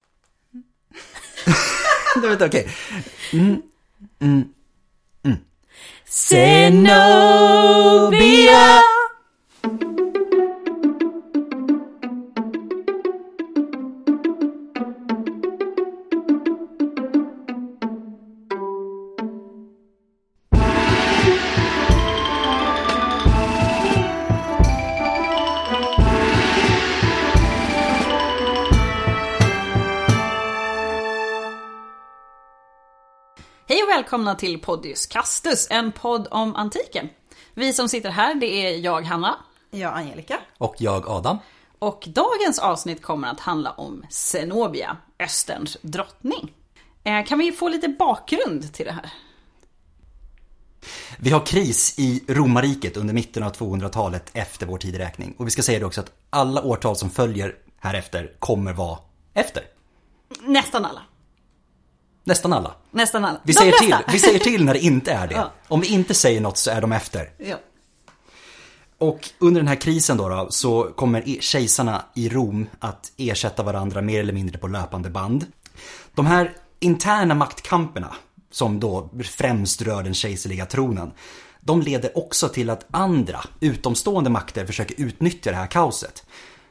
vänta, vänta, okej. Mm, mm, mm. Zenobia! Hej och välkomna till Podius Castus, en podd om antiken. Vi som sitter här, det är jag, Hanna. Ja, Angelica. Och jag, Adam. Och dagens avsnitt kommer att handla om Zenobia, Österns drottning. Eh, Kan vi få lite bakgrund till det här? Vi har kris i romarriket under mitten av 200-talet efter vår tideräkning. Och vi ska säga det också att alla årtal som följer härefter kommer vara efter. Nästan alla. Nästan alla. Nästan alla. Vi De säger, till, flesta. vi säger till när det inte är det. Ja. Om vi inte säger något så är de efter. Ja. Och under den här krisen då, då så kommer e- kejsarna i Rom att ersätta varandra mer eller mindre på löpande band. De här interna maktkamperna, som då främst rör den kejserliga tronen, de leder också till att andra, utomstående makter försöker utnyttja det här kaoset.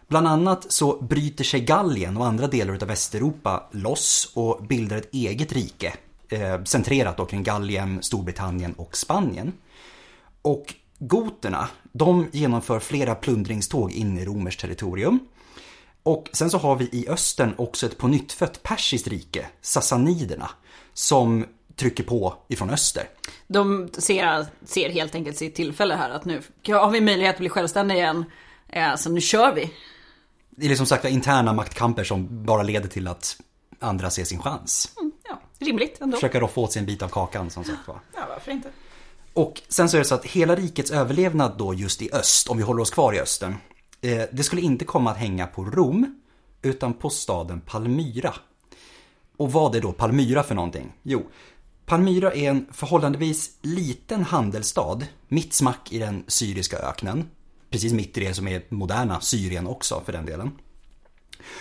Bland annat så bryter sig Gallien och andra delar av Västeuropa loss och bildar ett eget rike, eh, centrerat då kring Gallien, Storbritannien och Spanien. Och goterna, de genomför flera plundringståg in i romerskt territorium. Och sen så har vi i östern också ett pånyttfött persiskt rike, sassaniderna, som trycker på ifrån öster. De ser, ser helt enkelt sitt tillfälle här att nu har vi möjlighet att bli självständiga igen. eh, Så nu kör vi. Det är liksom sagt interna maktkamper som bara leder till att andra ser sin chans. Mm, Ja, rimligt ändå. Försöka roffa åt sig en bit av kakan som sagt var. Ja, varför inte? Och sen så är det så att hela rikets överlevnad då just i öst, om vi håller oss kvar i östern, eh, det skulle inte komma att hänga på Rom, utan på staden Palmyra. Och vad är då Palmyra för någonting? Jo, Palmyra är en förhållandevis liten handelsstad mitt smack i den syriska öknen. Precis mitt i det som är moderna Syrien också för den delen.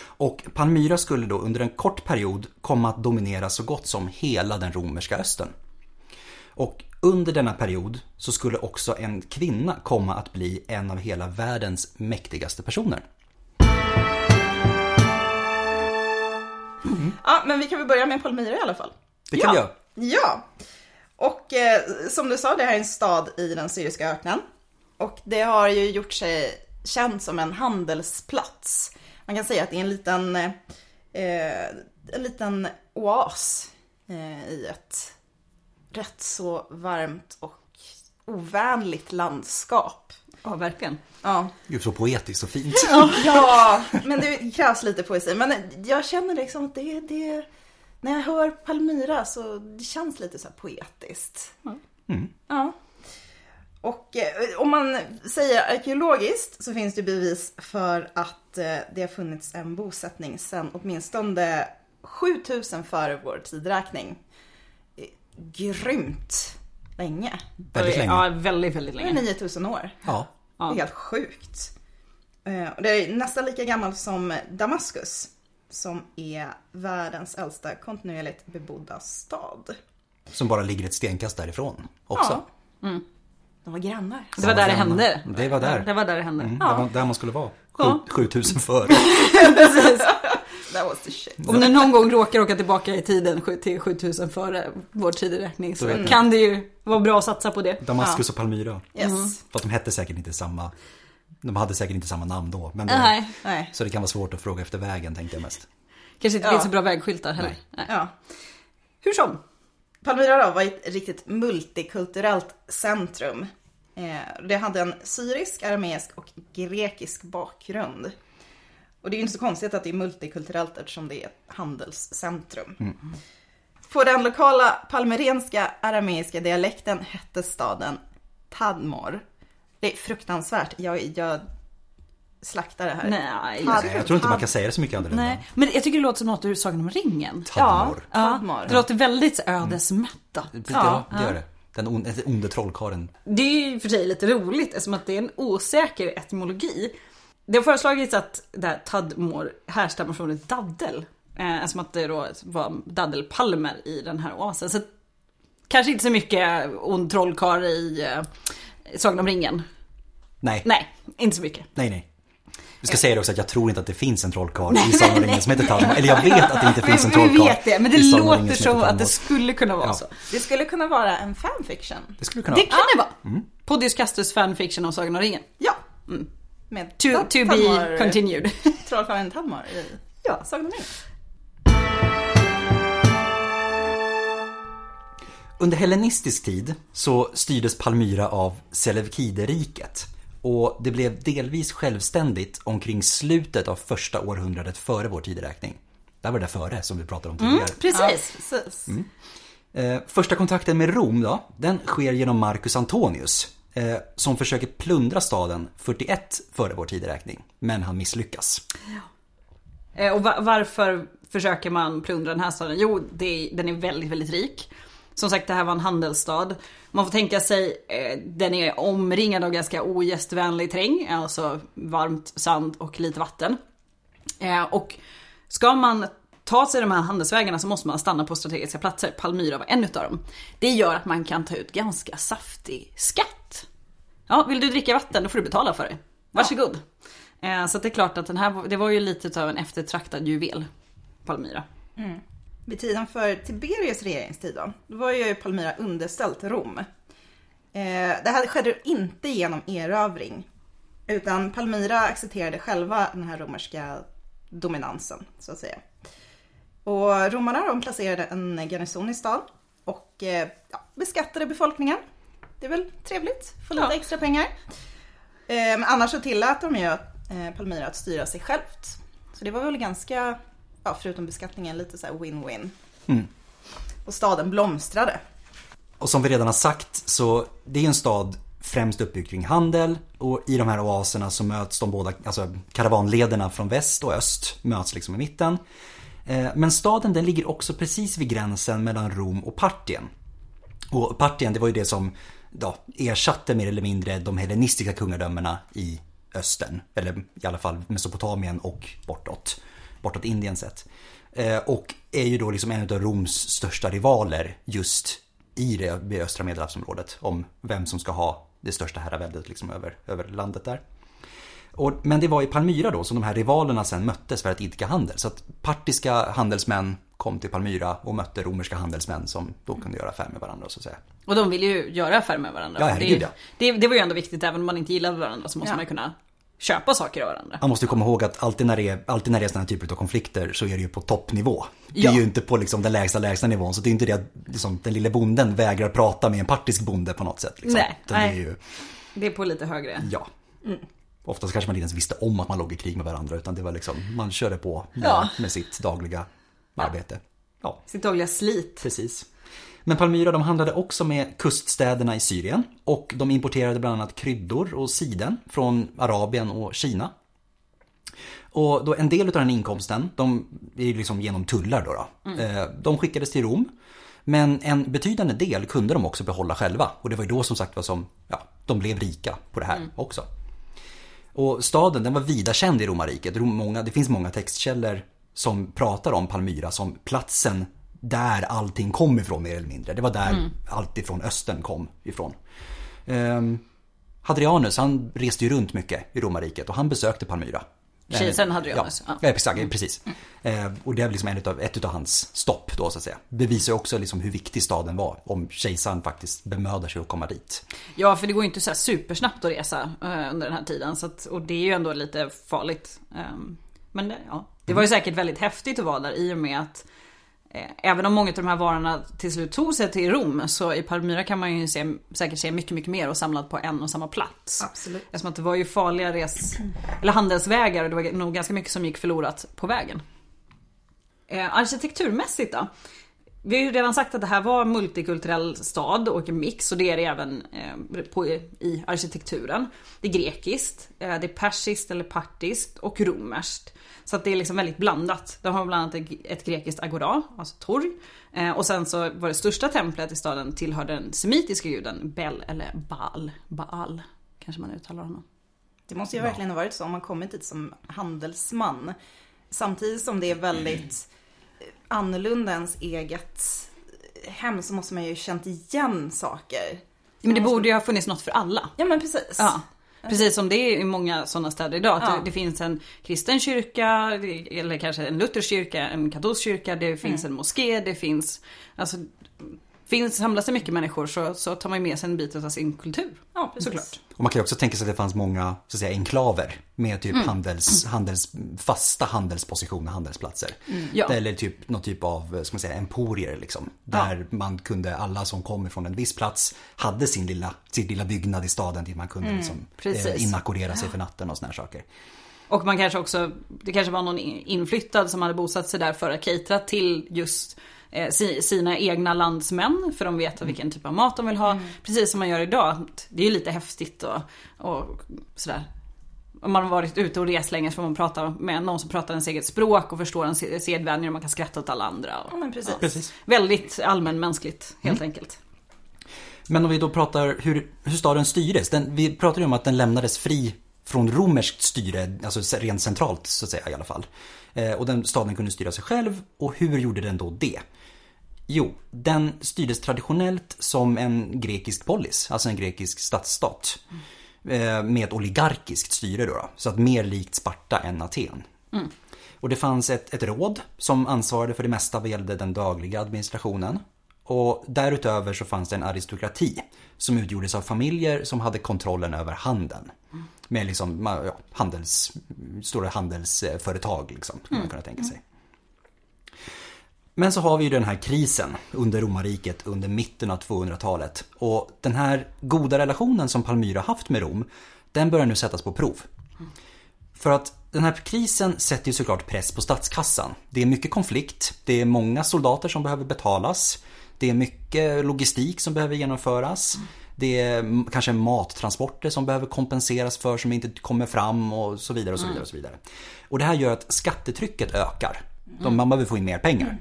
Och Palmyra skulle då under en kort period komma att dominera så gott som hela den romerska östern. Och under denna period så skulle också en kvinna komma att bli en av hela världens mäktigaste personer. Ja, men vi kan väl börja med Palmyra i alla fall. Det kan Ja. jag. Ja, och eh, som du sa, det här är en stad i den syriska öknen. Och det har ju gjort sig känd som en handelsplats. Man kan säga att det är en liten, eh, en liten oas eh, i ett rätt så varmt och ovänligt landskap. Ja, verkligen. Ja, Gud så poetiskt och fint. Ja, men det krävs lite poesi. Men jag känner liksom att det, det när jag hör Palmyra så det känns lite så här poetiskt. Ja. Och eh, om man säger arkeologiskt så finns det bevis för att eh, det har funnits en bosättning sedan åtminstone 7000 före vår tidräkning. Eh, Grymt länge. Väldigt Ja, länge. Ja, väldigt, väldigt Det är länge. 9000 år. Ja. Det är helt sjukt. Eh, och Det är nästan lika gammalt som Damaskus. Som är världens äldsta kontinuerligt bebodda stad. Som bara ligger ett stenkast därifrån också. Ja. De var grannar. Det var där det hände. Det var där. Det var där Mm. det hände. Där, man, där man skulle vara. Ja. 7000 före. Precis. That was the shit. Om du någon gång råkar åka tillbaka i tiden sju- till 7000 före vår tideräkning Då vet så ni. kan det ju vara bra att satsa på det. Damaskus och Palmyra. Yes. För att de hette säkert inte samma... De hade säkert inte samma namn då. Men Nej, Nej. Så det kan vara svårt att fråga efter vägen tänkte jag mest. kanske inte Ja. finns så bra vägskyltar heller. Nej. Nej. Ja. Hur som. Palmyra då var ett riktigt multikulturellt centrum. Eh, Det hade en syrisk, arameisk och grekisk bakgrund. Och det är ju inte så konstigt att det är multikulturellt eftersom det är ett handelscentrum. Mm. På den lokala palmerenska arameiska dialekten hette staden Tadmor. Det är fruktansvärt. Jag, jag slaktar det här. Nej. Tad- Nej, jag tror inte man kan säga det så mycket annorlunda. Nej. Men jag tycker det låter som något ur Sagan om ringen. Ja, Tadmor. Tadmor. Det låter väldigt ödesmättat. Ja, det gör det. Den on- den onde trollkarlen. Det är ju för sig lite roligt eftersom att det är en osäker etymologi. Det har föreslagits att det här tadmor härstammar från ett daddel. Eh, som att det då var daddelpalmer i den här oasen. Så kanske inte så mycket ond trollkarl i eh, Sagan om ringen. Nej, nej, Nej, inte så mycket. nej. Vi Eh. ska säga det också att jag tror inte att det finns en trollkarl i Sagan om ringen som heter Talmor. Eller jag vet att det inte finns en Vi, vi trollkarl vet det, men det i Sagan om ringen låter som som heter att det Talmor. skulle kunna vara Ja. så. Det skulle kunna vara en fanfiction. Det skulle kunna Det vara. kan det vara. Mm. Podius Castus fanfiction om Sagan om ringen. Ja. Med Mm. To, to be Talmor- continued. Trollkarlen Talmor i ja. Sagan om ringen. Under hellenistisk tid så styrdes Palmyra av Selevkideriket och det blev delvis självständigt omkring slutet av första århundradet före vår tideräkning. Där var det där före som vi pratade om Mm. tidigare. Precis. Ja, precis. Eh, första kontakten med Rom då, den sker genom Marcus Antonius eh, som försöker plundra staden 41 före vår tideräkning, men han misslyckas. Eh, Och va- varför försöker man plundra den här staden? Jo, det är, den är väldigt, väldigt rik. Som sagt, det här var en handelsstad. Man får tänka sig, eh, den är omringad av ganska ogästvänlig terräng, alltså varmt sand och lite vatten. Eh, Och ska man ta sig de här handelsvägarna så måste man stanna på strategiska platser. Palmyra var en utav dem. Det gör att man kan ta ut ganska saftig skatt. Ja, vill du dricka vatten då får du betala för det. Varsågod. Eh, så att det är klart att den här, var- det var ju lite utav en eftertraktad juvel. Palmyra. Vid tiden för Tiberius regeringstid då, då var ju Palmyra underställt Rom. Eh, det här skedde inte genom erövring, utan Palmyra accepterade själva den här romerska dominansen, så att säga. Och romarna de placerade en garnison i stan och eh, ja, beskattade befolkningen. Det är väl trevligt, få lite Ja. extra pengar. Eh, men annars så tillät de ju eh, Palmyra att styra sig självt. Så det var väl ganska, ja, förutom beskattningen, lite så här win-win. Och staden blomstrade. Och som vi redan har sagt så det är en stad främst uppbyggd kring handel och i de här oaserna så möts de båda, alltså karavanlederna från väst och öst möts liksom i mitten. Eh, Men staden den ligger också precis vid gränsen mellan Rom och Partien. Och Partien det var ju det som ja, ersatte mer eller mindre de hellenistiska kungadömena i östern. Eller i alla fall Mesopotamien och bortåt. Bortåt Indien sett. Eh, Och är ju då liksom en av Roms största rivaler just i det det östra medelhavsområdet. Om vem som ska ha det största herraväldet liksom över, över landet där. Och, men det var i Palmyra då som de här rivalerna sen möttes för att idka handel. Så att partiska handelsmän kom till Palmyra och mötte romerska handelsmän som då kunde göra affär med varandra så att säga. Och de vill ju göra affärer med varandra. Ja, För herregud, det, ja. det, det var ju ändå viktigt, även om man inte gillade varandra så måste Ja. man ju kunna köpa saker av varandra. Man måste ju komma ihåg att alltid när det är, alltid när det är sådana här typer av konflikter så är det ju på toppnivå. Det är Ja. ju inte på liksom den lägsta lägsta nivån så det är inte det att liksom, den lille bonden vägrar prata med en partisk bonde på något sätt. Liksom. Nej, Utan Det är nej. Mm. ju, Det är på lite högre. ja. Oftast kanske man inte ens visste om att man låg i krig med varandra utan det var liksom, man körde på med, Ja. med sitt dagliga arbete. Ja. Sitt dagliga slit. Precis. Men Palmyra de handlade också med kuststäderna i Syrien och de importerade bland annat kryddor och siden från Arabien och Kina. Och då en del av den inkomsten, de är ju liksom genom tullar då, då. Eh, de skickades till Rom. Men en betydande del kunde de också behålla själva och det var ju då som sagt var som, ja, de blev rika på det här också. Och staden den var vida känd i romarriket. Rom- Många, det finns många textkällor som pratar om Palmyra som platsen där allting kom ifrån mer eller mindre. Det var där Mm. allt ifrån östern kom ifrån. Ehm, Hadrianus han reste ju runt mycket i romarriket och han besökte Palmyra. Kejsaren Eh, Hadrianus, Ja, ja. Mm. ja exakt, precis. Eh, och det är liksom en utav, ett av hans stopp då så att säga. Bevisar ju också liksom hur viktig staden var om kejsaren faktiskt bemödar sig att komma dit. Ja, för det går ju inte så här supersnabbt att resa eh, under den här tiden. Så att, och det är ju ändå lite farligt. Ehm, men det, ja. det var ju säkert väldigt häftigt att vara där i och med att eh, Även om många av de här varorna till slut tog sig till Rom så i Palmyra kan man ju se, säkert se mycket, mycket mer och samlat på en och samma plats. Absolut. Eftersom att det var ju farliga res, eller handelsvägar och det var nog ganska mycket som gick förlorat på vägen. Eh, arkitekturmässigt då? Vi har ju redan sagt att det här var en multikulturell stad och en mix och det är det även eh, på, i arkitekturen. Det är grekiskt, eh, det är persiskt eller partiskt och romerskt. Så att det är liksom väldigt blandat. De har bland annat ett- ett grekiskt agora, alltså torg. Eh, och sen så var det största templet i staden tillhör den semitiska guden Bel eller Baal. Baal kanske man uttalar honom. Det måste ju verkligen ha varit så om man kommit dit som handelsman. Samtidigt som det är väldigt annorlunda ens eget hem så måste man ju känt igen saker. Men det borde ju ha funnits något för alla. Ja men precis. Ja. Precis som det är i många sådana städer idag. Att Ja. det, det finns en kristen kyrka, eller kanske en luthersk kyrka, en katolsk kyrka, det finns en moské, det finns... Alltså, finns, samlas det mycket människor så, så tar man ju med sig en bit av sin kultur. Ja, precis. Såklart. Och man kan ju också tänka sig att det fanns många så att säga, enklaver med typ Mm. handels, handels, fasta handelspositioner, handelsplatser. Mm. Ja. Eller typ, någon typ av ska man säga, emporier liksom. Där man kunde, alla som kommer från en viss plats hade sin lilla, sin lilla byggnad i staden dit man kunde liksom, Mm, precis. eh, inackordera sig för natten och såna här saker. Och man kanske också, det kanske var någon in- inflyttad som hade bosatt sig där för att catera till just eh, si- sina egna landsmän för de vet vilken typ av mat de vill ha. Precis som man gör idag. Det är ju lite häftigt och, och sådär. Om man har varit ute och rest länge så får man prata med någon som pratar ens eget språk och förstår ens se- sedvänjor och man kan skratta åt alla andra. Ja, Och, men precis. Precis. väldigt allmänmänskligt helt enkelt. Men om vi då pratar hur, hur staden styrdes. Den, vi pratade ju om att den lämnades fri från romerskt styre, alltså rent centralt så att säga i alla fall. Eh, och den staden kunde styra sig själv. Och hur gjorde den då det? Jo, den styrdes traditionellt som en grekisk polis, alltså en grekisk stadsstat. Eh, med ett oligarkiskt styre då, då så att mer likt Sparta än Aten. Och det fanns ett, ett råd som ansvarade för det mesta vad gällde den dagliga administrationen. Och därutöver så fanns det en aristokrati som utgjordes av familjer som hade kontrollen över handeln. Med liksom, ma- ja, handels, stora handelsföretag liksom, skulle man kunna tänka sig. Men så har vi ju den här krisen under romarriket under mitten av 200-talet. Och den här goda relationen som Palmyra haft med Rom, den börjar nu sättas på prov. För att den här krisen sätter ju såklart press på statskassan. Det är mycket konflikt, det är många soldater som behöver betalas, det är mycket logistik som behöver genomföras, det är m- kanske mattransporter som behöver kompenseras för som inte kommer fram och så vidare och så vidare. Och, så vidare. och det här gör att skattetrycket ökar. De, man behöver få in mer pengar.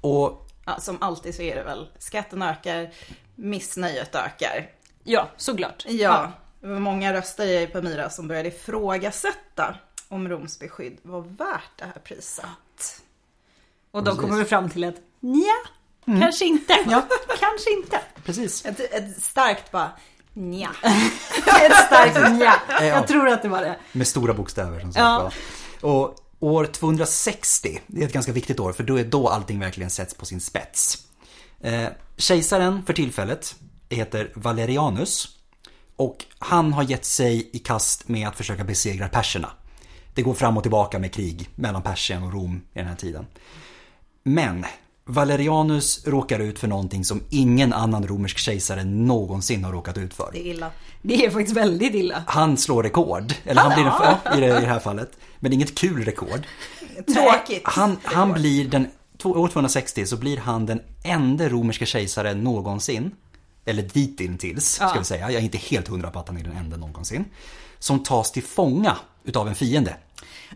Och Ja, som alltid så är det väl. Skatten ökar, missnöjet ökar. Ja, såklart. Ja, det var många röster i Palmyra som började ifrågasätta om Roms beskydd var värt det här priset. Och de Precis. kommer väl fram till att nja, kanske inte. Kanske inte. precis. Ett, ett starkt bara nja. Ett starkt nja. Ja. Jag tror att det var det. Med stora bokstäver som sagt Ja. var. Och år 260, det är ett ganska viktigt år för då är då allting verkligen sätts på sin spets. Eh, kejsaren för tillfället heter Valerianus och han har gett sig i kast med att försöka besegra perserna. Det går fram och tillbaka med krig mellan Persien och Rom i den här tiden. Men Valerianus råkar ut för någonting som ingen annan romersk kejsare någonsin har råkat ut för. Det är illa. Det är faktiskt väldigt illa. Han slår rekord. Eller han blir den, ja, i, det, i det här fallet. Men det är inget kul rekord. Tråkigt. Han, han blir den, två- år 260 så blir han den enda romerska kejsaren någonsin. Eller ditintills, ska vi säga. Jag är inte helt hundra på att han är den enda någonsin. Som tas till fånga utav en fiende.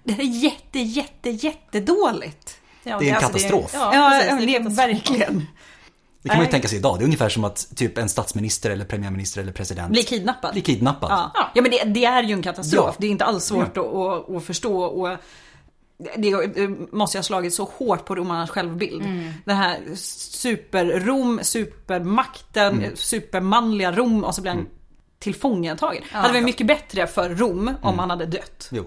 Det här är jätte, jätte, jättedåligt. Ja, det är en alltså, katastrof. ja, Ja, precis, ja, det är katastrof. verkligen. Det kan man ju Nej. tänka sig idag. Det är ungefär som att typ en statsminister eller premiärminister eller president Bli kidnappad. blir kidnappad. Ja. ja men det, det är ju en katastrof. Ja. Det är inte alls svårt att, att, att förstå. Och eh, det, det måste ju ha slagit så hårt på romarnas självbild. Den här super-Rom, supermakten, supermanliga Rom och så blir han tillfångatagen. hade varit mycket bättre för Rom om han hade dött. Jo.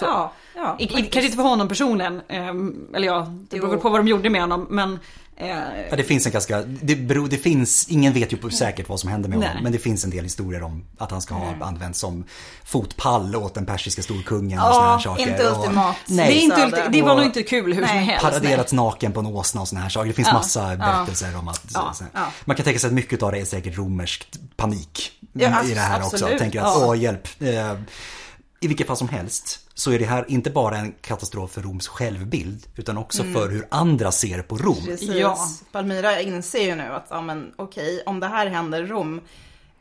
Ja, ja. I, i, kanske inte för honom personligen, ehm, eller ja, det beror väl på vad de gjorde med honom. Men eh, Ja, det finns en ganska, det, beror, det finns, ingen vet ju på säkert vad som hände med honom. Nej. Men det finns en del historier om att han ska ha Mm. använts som fotpall åt den persiska storkungen och Ja, såna här saker. inte och, ultimat. Nej. det, är inte, ulti- det var Och- nog inte kul hur som Nej. helst. Paraderats naken på en åsna och såna här saker. Det finns massa berättelser om att... så- så- ja. Man kan tänka sig att mycket av det är säkert romerskt panik Ja, i alltså, det här också. absolut. Tänker att, Ja. åh hjälp. Eh, I vilket fall som helst så är det här inte bara en katastrof för Roms självbild utan också för hur andra ser på Rom. Mm. Precis. Ja. Palmyra inser ju nu att, ja men okej, om det här händer Rom,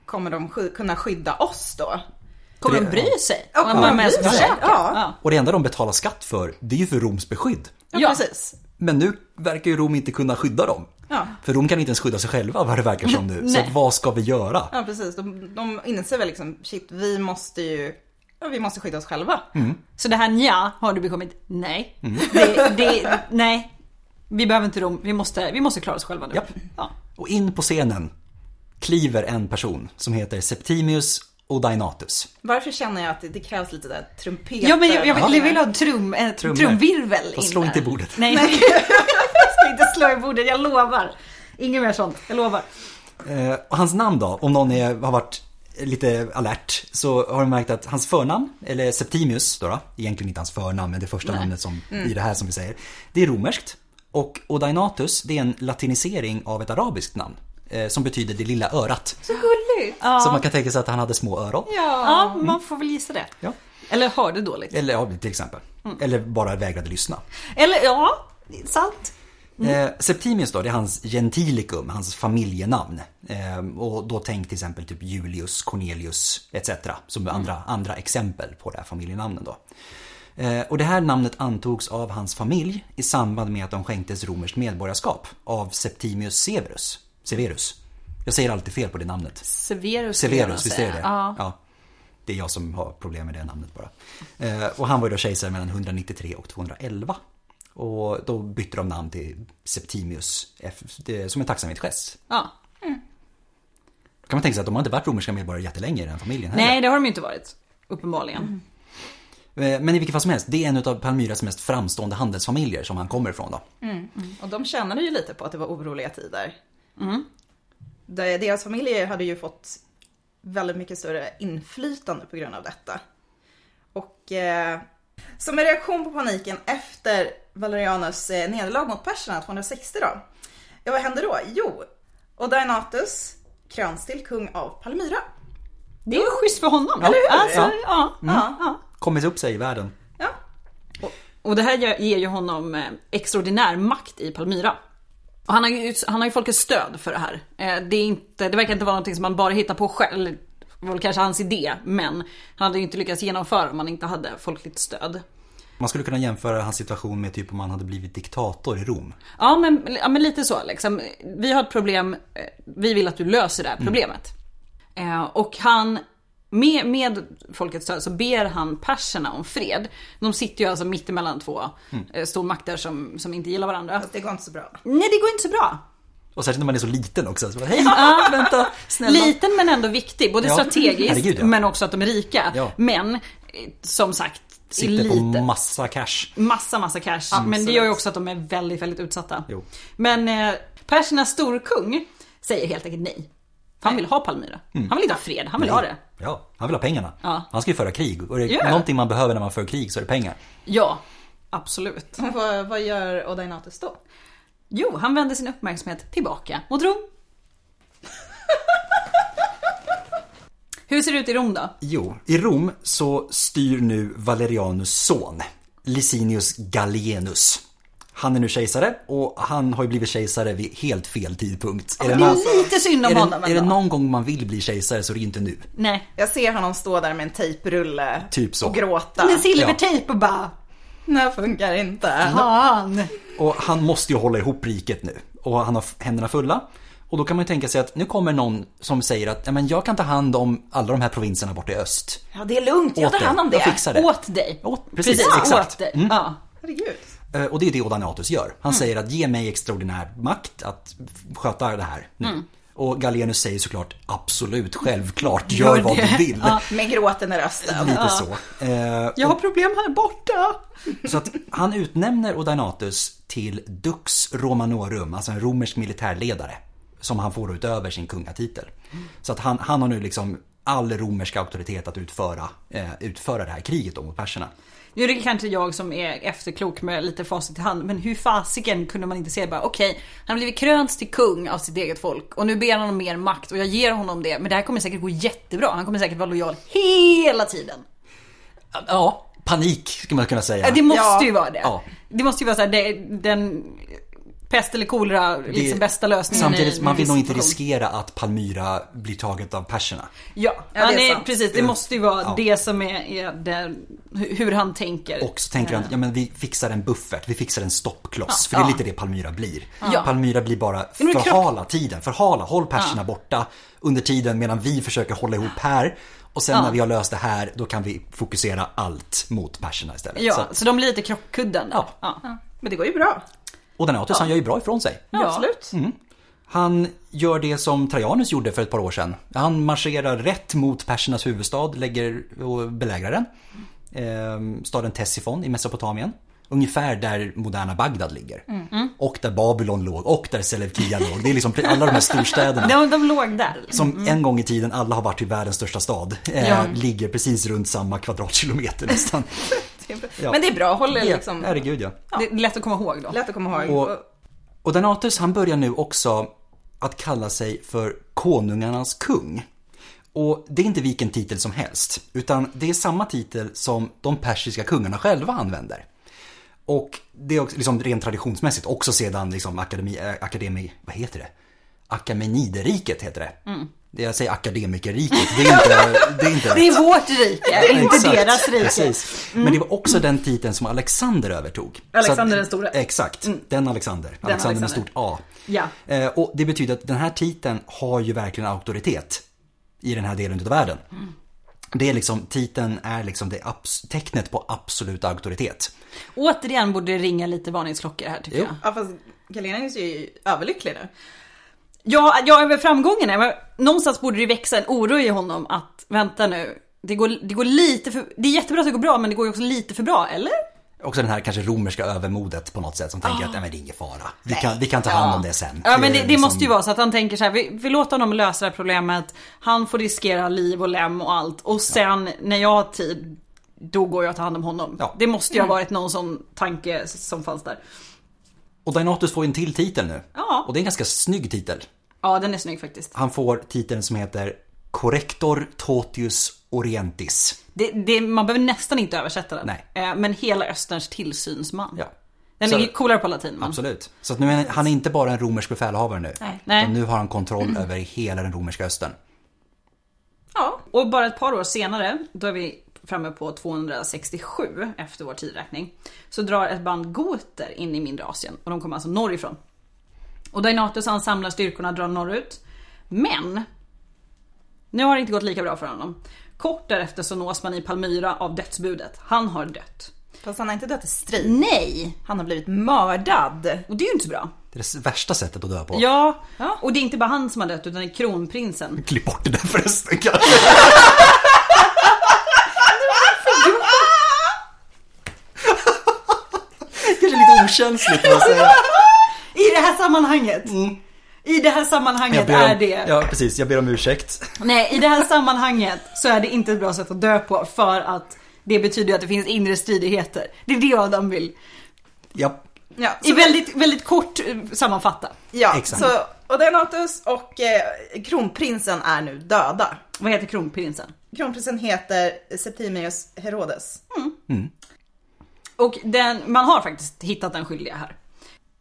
kommer de sky- kunna skydda oss då? Kommer de Det- bry sig? Ja, Om man kommer de är bry sig? försöker? Ja. Och det enda de betalar skatt för, det är ju för Roms beskydd. Ja, Ja. precis. Men nu verkar ju Rom inte kunna skydda dem. Ja. För Rom kan inte ens skydda sig själva vad det verkar som nu. Så Nej. att, vad ska vi göra? Ja, precis. De, de inser väl liksom, shit, vi måste ju, ja, vi måste skydda oss själva. Mm. Så det här nja har du bekommit nej. Det, det, nej. Vi behöver inte Rom, vi måste, vi måste klara oss själva nu. Japp. Ja. Och in på scenen kliver en person som heter Septimius Odaenatus. Varför känner jag att det, det krävs lite där trumpet? Ja men jag, jag, Ja. vill- jag vill ha trum, eh, Trummor. trumvirvel Fast in slå där. inte i bordet. Nej, jag ska inte slå i bordet, jag lovar. Inget mer sånt, jag lovar. Eh, och hans namn då, om någon är, har varit lite alert, så har de märkt att hans förnamn, eller Septimius då, då egentligen inte hans förnamn men det första namnet som, i det här som vi säger, det är romerskt. Och Odaenatus, det är en latinisering av ett arabiskt namn. eh, Som betyder det lilla örat. Så gulligt! Ja. Så man kan tänka sig att han hade små öron. Ja. Ja, man får väl gissa det. Ja. Eller hörde dåligt. Eller ja, till exempel. Eller bara vägrade lyssna. Eller ja, sant. Eh, Septimius då, det är hans gentilicum, hans familjenamn. Eh, och då tänk till exempel typ Julius, Cornelius etc. Som andra, andra exempel på det här familjenamnen då. Eh, och det här namnet antogs av hans familj i samband med att de skänktes romerskt medborgarskap av Septimius Severus. Severus. Jag säger alltid fel på det namnet. Severus. skulle jag nog Severus, visst är det säga. det? Ja. Det är jag som har problem med det namnet bara. Eh, och han var ju då kejsare mellan 193 och 211. Och då bytte de namn till Septimius F, det, som en tacksamhetsgest. ja. Kan man tänka sig att de har inte varit romerska medborgare jättelänge i den familjen Nej, det har de ju inte varit. Uppenbarligen. Eh, Men i vilket fall som helst, det är en av Palmyras mest framstående handelsfamiljer som han kommer ifrån då. Mm, Och de tjänade ju lite på att det var oroliga tider. Mm. De- Deras familjer hade ju fått väldigt mycket större inflytande på grund av detta. Och eh, som en reaktion på paniken efter Valerianus eh, nederlag mot perserna 260 då. Ja, vad hände då? Jo, Odaenatus kröns till kung av Palmyra. Det är ju schysst för honom. Eller hur? Alltså, Ja. ja. Ja, ja. Kommit upp sig i världen. Ja, Och det här gör- ger ju honom eh, extraordinär makt i Palmyra. Och han har ju, han har ju folkets stöd för det här. Eh, Det, är inte, det verkar inte vara någonting som man bara hittar på själv. Det var väl kanske hans idé, men han hade ju inte lyckats genomföra om han inte hade folkligt stöd. Man skulle kunna jämföra hans situation med typ om han hade blivit diktator i Rom. Ja men, ja, men lite så liksom. Vi har ett problem, eh, vi vill att du löser det här problemet. Eh, och han, med, med folkets stöd så ber han perserna om fred. De sitter ju alltså mitt emellan två mm. stormakter som, som inte gillar varandra. fast Alltså, det går inte så bra. Nej det går inte så bra. Och särskilt när man är så liten också. Så bara, Hej, vänta, snälla. Liten men ändå viktig, både Ja. strategiskt Herregud, ja. men också att de är rika. Ja. Men eh, som sagt, Sitter på eliten. massa cash. Massa, massa cash. Men det gör ju också att de är väldigt, väldigt utsatta. Jo. Men eh, persernas storkung säger helt enkelt nej. För han vill ha Palmyra. Mm. Han vill inte ha fred, han vill ha det. Ja, han vill ha pengarna. Ja. Han ska ju föra krig. Och det är Ja. någonting man behöver när man för krig så är det pengar. Ja, absolut. Men Vad, vad gör Odaenatus då? Jo, han vänder sin uppmärksamhet tillbaka mot Rom. Hur ser det ut i Rom då? Jo, i Rom så styr nu Valerianus son, Licinius Gallienus. Han är nu kejsare och han har ju blivit kejsare vid helt fel tidpunkt. Är det, någon, Lite synd om är honom det, är det ändå. någon gång man vill bli kejsare så är det ju inte nu. Nej. Jag ser honom stå där med en tejprulle Typ så. och gråta. Med silvertejp och bara, Det här funkar inte. fan. Och han måste ju hålla ihop riket nu. Och han har f- händerna fulla. Och då kan man ju tänka sig att nu kommer någon som säger att "Ja, men jag kan ta hand om alla de här provinserna borta i öst. Ja, det är lugnt. Jag Åt tar dig. hand om det. Jag fixar det. Åt dig. Åt- precis, exakt. Mm. åt dig. Ja. Herregud. Eh, Och det är det Odaenatus gör. Han säger att ge mig extraordinär makt att f- sköta det här nu. Och Gallienus säger såklart absolut, självklart, gör vad du vill. Med gråten i rösten. Lite så. Eh, Jag har problem här borta. Så att han utnämner Odaenatus till Dux Romanorum, alltså en romersk militärledare. Som han får utöver sin kungatitel. Så att han, han har nu liksom all romersk auktoritet att utföra, eh, utföra det här kriget då mot perserna. Nu är det kanske jag som är efterklok med lite facit i hand, men hur fasiken kunde man inte se bara okej, han har blivit krönts till kung av sitt eget folk och nu ber han om mer makt och jag ger honom det, men det här kommer säkert gå jättebra. Han kommer säkert vara lojal hela tiden. Ja, panik skulle man kunna säga. Ja, Det måste Ja. ju vara det. Ja. Det måste ju vara så här, det, den pest eller kolera, liksom bästa lösningen Samtidigt, i- man vill nog inte i- riskera att Palmyra blir taget av perserna. Ja, Ja, det är han är, sant. precis. Det måste ju vara Ja. det som är, är det, hur han tänker. Och så tänker han att ja, men vi fixar en buffert, vi fixar en stoppkloss. För Ja. det är Ja. lite det Palmyra blir. Ja. Palmyra blir bara Men kropp- förhala tiden, förhala, håll perserna borta under tiden medan vi försöker hålla ihop här. Och sen Ja. när vi har löst det här, då kan vi fokusera allt mot perserna istället. Ja, Så så, att, de blir lite krockkudden. där. Ja. Ja. Men det går ju bra. Och Donatius han gör ju bra ifrån sig. Ja. absolut. Mm. Han gör det som Trajanus gjorde för ett par år sedan. Han marscherar rätt mot persernas huvudstad lägger och belägrar den. Ehm, Staden Tessifon i Mesopotamien. Ungefär där moderna Bagdad ligger. Mm. Och där Babylon låg och där Selevkia låg. Det är liksom alla de här storstäderna. De, de låg där. Som liksom. Mm. en gång i tiden alla har varit i världens största stad. Eh, Ligger precis runt samma kvadratkilometer nästan. Det är bra. Ja. Men det är bra, håller Det- liksom. Herregud ja. Det är lätt att komma ihåg då. Lätt att komma ihåg. Och, och Donatus han börjar nu också att kalla sig för konungarnas kung. Och det är inte vilken titel som helst, utan det är samma titel som de persiska kungarna själva använder. Och det är också, liksom, rent traditionsmässigt också sedan liksom, akademi, äh, akademi, vad heter det? Akameniderriket heter det. Det Jag säger akademikerriket, det är inte, det är inte Det är vårt rike, inte Exakt, deras rike. Mm. Precis. Men det var också den titeln som Alexander övertog. Alexander Så att- den store. Mm. Exakt, den Alexander. Alexander med stort A. Ja. Eh, Och det betyder att den här titeln har ju verkligen auktoritet i den här delen av världen. Mm. Det är liksom, titeln är liksom det abs- tecknet på absolut auktoritet. Återigen borde det ringa lite varningsklockor här tycker Jo. jag. Ja fast Galenius är ju överlycklig nu. Ja, ja, över framgångarna. Men någonstans borde det växa en oro i honom att, vänta nu, det går, det går lite för, det är jättebra att det går bra men det går ju också lite för bra, eller? Också den här kanske romerska övermodet på något sätt som tänker att nej, men det är ingen fara. Vi kan, vi kan ta hand om det sen. Ah. Ja men det, det liksom- måste ju vara så att han tänker så här, vi, vi låter honom lösa det här problemet, han får riskera liv och lem och allt och sen när jag har tid, då går jag och tar hand om honom. Ja. Det måste ju ha varit någon sån tanke som fanns där. Och Dainatus får ju en till titel nu. Ja. Och det är en ganska snygg titel. Ja den är snygg faktiskt. Han får titeln som heter Corrector Totius Orientis. Det, det, man behöver nästan inte översätta den. Nej. Eh, Men hela Österns tillsynsman. Ja. Den Så- ligger coolare på latin. Man. Absolut. Så att nu är han är inte bara en romersk befälhavare nu. Nej. Nej. Utan nu har han kontroll över hela den romerska östern. Ja, Och bara ett par år senare, då är vi framme på 267 efter vår tidräkning, så drar ett band goter in i mindre Asien och de kommer alltså norrifrån. Och Dainatus han samlar styrkorna och drar norrut. Men! Nu har det inte gått lika bra för honom. Kort därefter så nås man i Palmyra av dödsbudet. Han har dött. fast han har inte dött i strid. Nej! Han har blivit mördad. Och det är ju inte så bra. Det är det värsta sättet att dö på. Ja, och det är inte bara han som har dött utan det är kronprinsen. Klipp bort det där förresten kanske. kanske lite okänsligt vad jag säger. I det här sammanhanget! I det här Mm. Jag sammanhanget ber om- är det... Ja precis, jag ber om ursäkt. Nej, i det här sammanhanget så är det inte ett bra sätt att dö på för att det betyder ju att det finns inre stridigheter. Det är det Adam vill. Ja, Ja, I så, väldigt, väldigt kort eh, sammanfatta. ja, Exakt. så Odenatus och eh, kronprinsen är nu döda. Vad heter kronprinsen? Kronprinsen heter Septimius Herodes. Och den, man har faktiskt hittat den skyldiga här.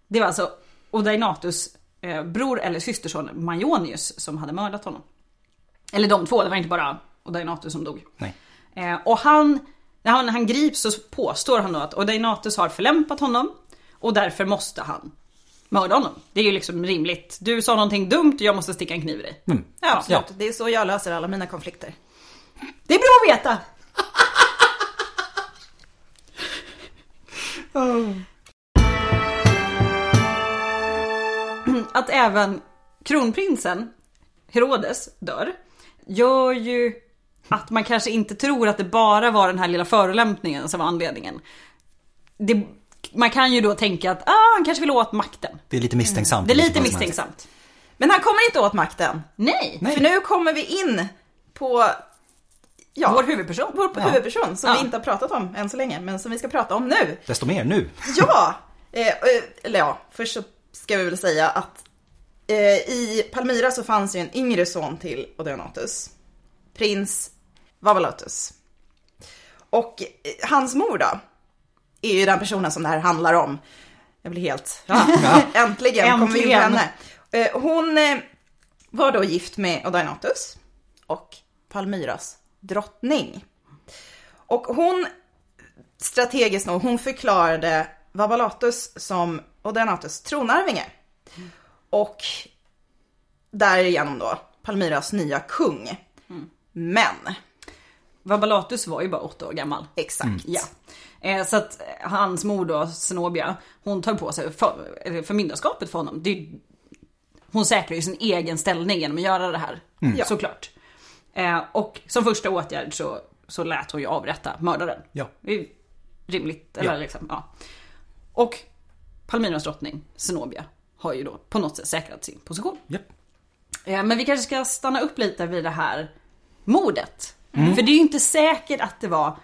Det var alltså Odainatus eh, bror eller systerson Maionius som hade mördat honom. Eller de två, det var inte bara Odainatus som dog. nej. Eh, och han, när han, han grips så påstår han då att Odainatus har förlämpat honom och därför måste han mörda honom. Det är ju liksom rimligt. Du sa någonting dumt, jag måste sticka en kniv i dig. Ja, absolut. Ja. Det är så jag löser alla mina konflikter. Det är bra att veta! Att även kronprinsen Herodes dör gör ju att man kanske inte tror att det bara var den här lilla förolämpningen som var anledningen. Det, man kan ju då tänka att ah, han kanske vill åt makten. Det är lite misstänksamt. Mm. Det är lite vad som helst. misstänksamt. Men han kommer inte åt makten. Nej! Nej. För nu kommer vi in på ja, Vår huvudperson. vår huvudperson som Ja. vi inte har pratat om än så länge, men som vi ska prata om nu. Desto mer nu. Ja! Eh, eh, eller ja, först så ska vi väl säga att eh, i Palmyra så fanns ju en yngre son till Odeonatus. Prins Vavalotus. Och eh, hans mor då, är ju den personen som det här handlar om. Jag blir helt... Äntligen, kommer vi in på Äntligen. henne. Eh, Hon eh, var då gift med Odainatus och Palmyras drottning. Och hon, strategiskt nog, hon förklarade Vabalatus som Odainatus tronarvinge. Och därigenom då Palmyras nya kung. Men Vabalatus var ju bara åtta år gammal. Exakt. Ja. Eh, Så att eh, hans mor då, Zenobia, hon tar på sig för, eller förmyndarskapet för honom. Det är, ju- hon säkrar ju sin egen ställning genom att göra det här. Mm. Ja. Såklart. Eh, Och som första åtgärd så, så lät hon ju avrätta mördaren. Ja. Det är ju rimligt. Eller Ja. Liksom, ja. Och Palminas drottning, Zenobia, har ju då på något sätt säkrat sin position. Japp. Eh, Men vi kanske ska stanna upp lite vid det här mordet. Mm. För det är ju inte säkert att det var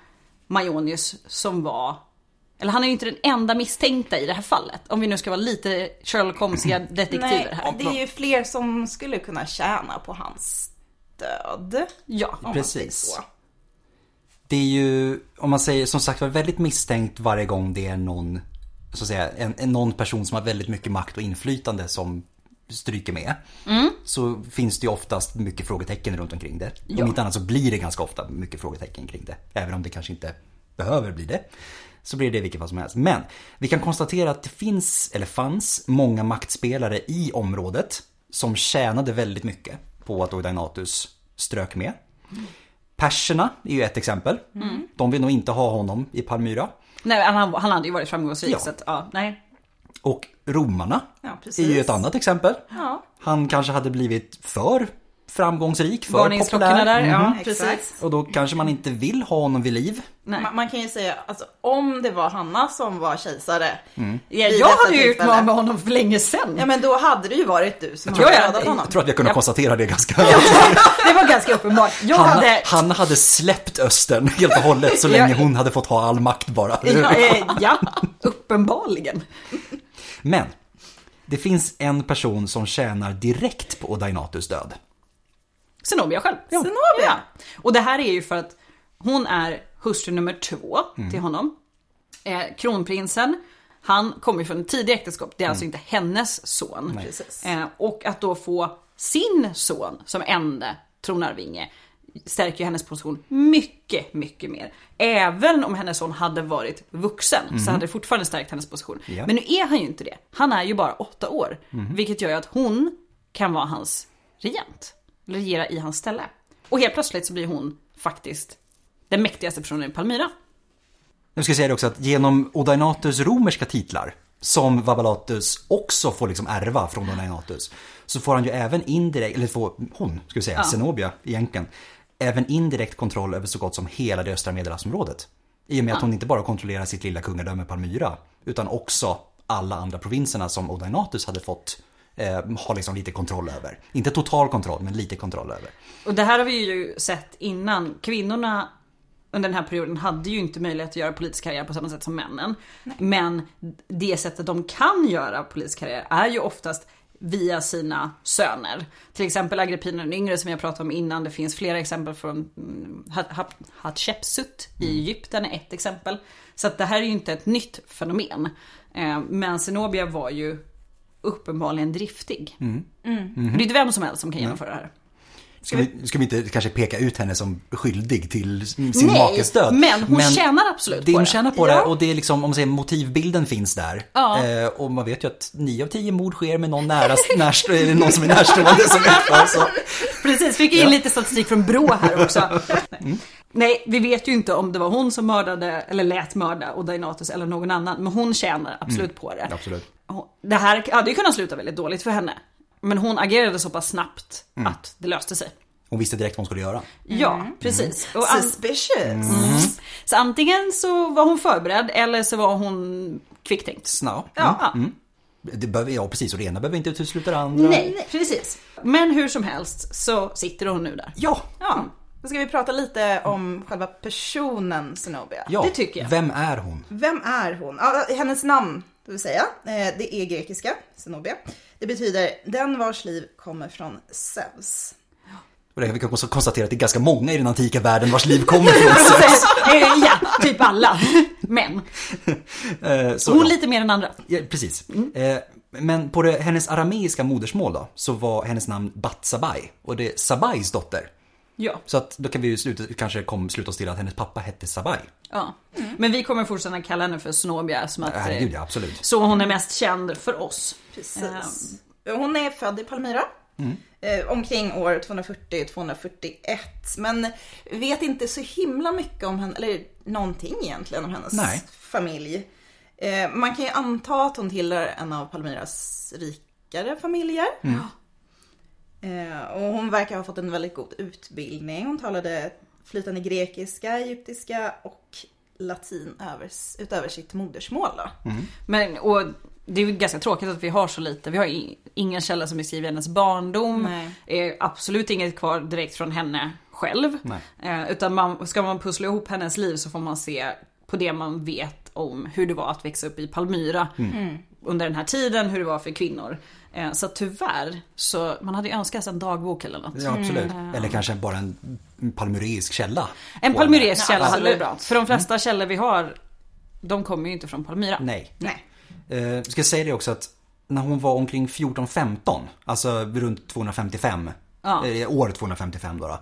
Majonius som var eller han är ju inte den enda misstänkta i det här fallet. Om vi nu ska vara lite Sherlock Holmesiga detektiver här. Mm. Nej, det är ju fler som skulle kunna tjäna på hans död. Ja. om man Precis. säger så. Det är ju, om man säger som sagt var väldigt misstänkt varje gång det är någon, så att säga, en, en någon person som har väldigt mycket makt och inflytande som stryker med. Så finns det ju oftast mycket frågetecken runt omkring det. Ja. Om inte annat så blir det ganska ofta mycket frågetecken kring det. Även om det kanske inte behöver bli det. Så blir det i vilket fall som helst. Men vi kan konstatera att det finns, eller fanns, många maktspelare i området som tjänade väldigt mycket på att Oidainatus strök med. Perserna är ju ett exempel. Mm. De vill nog inte ha honom i Palmyra. Nej, han, han hade ju varit framgångsrik Ja. så att, ja, nej. Och romarna Ja, är precis. ju ett annat exempel. Ja, Han kanske hade blivit för framgångsrik, för Varningsklockorna populär. där, ja Mhm. precis. Exakt. Och då kanske man inte vill ha honom vid liv. Nej. man, man kan ju säga, alltså, om det var Hanna som var kejsare. Mm. Ja, vid jag detta hade ju gjort tillfälle. med honom för länge sedan. Ja men då hade det ju varit du som tror hade jag- dödat honom. Jag tror att vi har kunnat Ja. konstatera det ganska... Det var ganska uppenbart. Jag Hanna, hade... Hanna hade släppt Östern helt och hållet så länge Ja. hon hade fått ha all makt bara. Ja, eh, ja, uppenbarligen. Men det finns en person som tjänar direkt på Odainatus död. Zenobia själv. Zenobia. Ja. Och det här är ju för att hon är hustru nummer två till honom. Eh, kronprinsen, han kommer ju från ett tidigt äktenskap. Det är alltså inte hennes son. Precis. Eh, och att då få sin son som enda tronarvinge stärker ju hennes position mycket, mycket mer. Även om hennes son hade varit vuxen så hade det fortfarande stärkt hennes position. Ja. Men nu är han ju inte det. Han är ju bara åtta år. Vilket gör ju att hon kan vara hans regent. Eller regera i hans ställe. Och helt plötsligt så blir hon faktiskt den mäktigaste personen i Palmyra. Nu ska jag säga det också att genom Odainatus romerska titlar som Vabalatus också får liksom ärva från Odainatus så får han ju även indirekt, eller får hon, ska vi säga, Zenobia egentligen, även indirekt kontroll över så gott som hela det östra medelhavsområdet. I och med att hon inte bara kontrollerar sitt lilla kungadöme Palmyra utan också alla andra provinserna som Odainatus hade fått eh, ha liksom lite kontroll över. Inte total kontroll, men lite kontroll över. Och det här har vi ju sett innan. Kvinnorna under den här perioden hade ju inte möjlighet att göra politisk karriär på samma sätt som männen. Men det sättet de kan göra politisk karriär är ju oftast via sina söner. Till exempel Agrippina den yngre som jag pratade om innan. Det finns flera exempel från mm, Ha- Ha- Hatshepsut i Egypten är ett exempel. Så att det här är ju inte ett nytt fenomen. Eh, Men Zenobia var ju uppenbarligen driftig. Och Det är inte vem som helst som kan genomföra det här. Ska vi, ska vi inte kanske peka ut henne som skyldig till sin Nej, makes död? men hon tjänar absolut det på hon det. tjänar på det Ja. och det är liksom, om man säger motivbilden finns där. Ja. Eh, och man vet ju att 9 av 10 mord sker med någon, nära, närst, eller någon som är närstående som är så. Precis, fick jag in lite statistik från BRÅ här också. Nej. Nej, vi vet ju inte om det var hon som mördade eller lät mörda Odainatus eller någon annan. Men hon tjänar absolut på det. Absolut. Hon- Det här hade ju kunnat sluta väldigt dåligt för henne. Men hon agerade så pass snabbt att det löste sig. Hon visste direkt vad hon skulle göra. Ja, precis. Mm. Och an- Suspicious. så antingen så var hon förberedd eller så var hon kvicktänkt. Snow. Ja. Mm. Det behöver, ja, precis. Och det ena behöver inte utesluta det andra. Nej, precis. Men hur som helst så sitter hon nu där. Ja, Ja, då ska vi prata lite om själva personen Zenobia. ja. Det tycker jag. Vem är hon? Vem är hon? Ja, hennes namn, det vill säga, eh, det är grekiska, Zenobia. Det betyder den vars liv kommer från Zeus. Och det, vi kan också konstatera att det är ganska många i den antika världen vars liv kommer från Zeus. Eh, ja, typ alla. Men Eh, så- hon ja. lite mer än andra. Ja, precis. Eh, men på det, hennes arameiska modersmål då, så var hennes namn Batsabai. Och det är Sabais dotter. Ja. Så att då kan vi ju sluta, kanske kom, sluta oss till att hennes pappa hette Sabai. Ja. Mm. Men vi kommer fortsätta kalla henne för Snobia som att... eh, Herregud ja, absolut. Så hon är mest känd för oss. Precis. Hon är Ehm, född i Palmyra. Eh, omkring år 240-241. Men vet inte så himla mycket om henne, eller någonting egentligen om hennes Nej. familj. Eh, man kan ju anta att hon tillhör en av Palmyras rikare familjer. Eh, och hon verkar ha fått en väldigt god utbildning. Hon talade flytande grekiska, egyptiska och latin övers, utöver sitt modersmål. Då. Men och det är ju ganska tråkigt att vi har så lite. Vi har i- ingen källa som beskriver hennes barndom. Nej. Eh, absolut inget kvar direkt från henne själv. Nej. Eh, utan man, ska man pussla ihop hennes liv så får man se på det man vet om hur det var att växa upp i Palmyra. Mm. Under den här tiden, hur det var för kvinnor. Eh, så tyvärr, så man hade ju önskat sig en dagbok eller något. Ja, absolut. Mm. Eller kanske bara en palmyreisk källa. En på palmyreisk Ja, källa alltså, hade varit absolut. bra. För de flesta källor vi har, de kommer ju inte från Palmyra. henne. Mm. Nej. Nej. Eh, ska jag säga det också att när hon var omkring 14-15, alltså runt 255, Ja. eh, år 255 då, då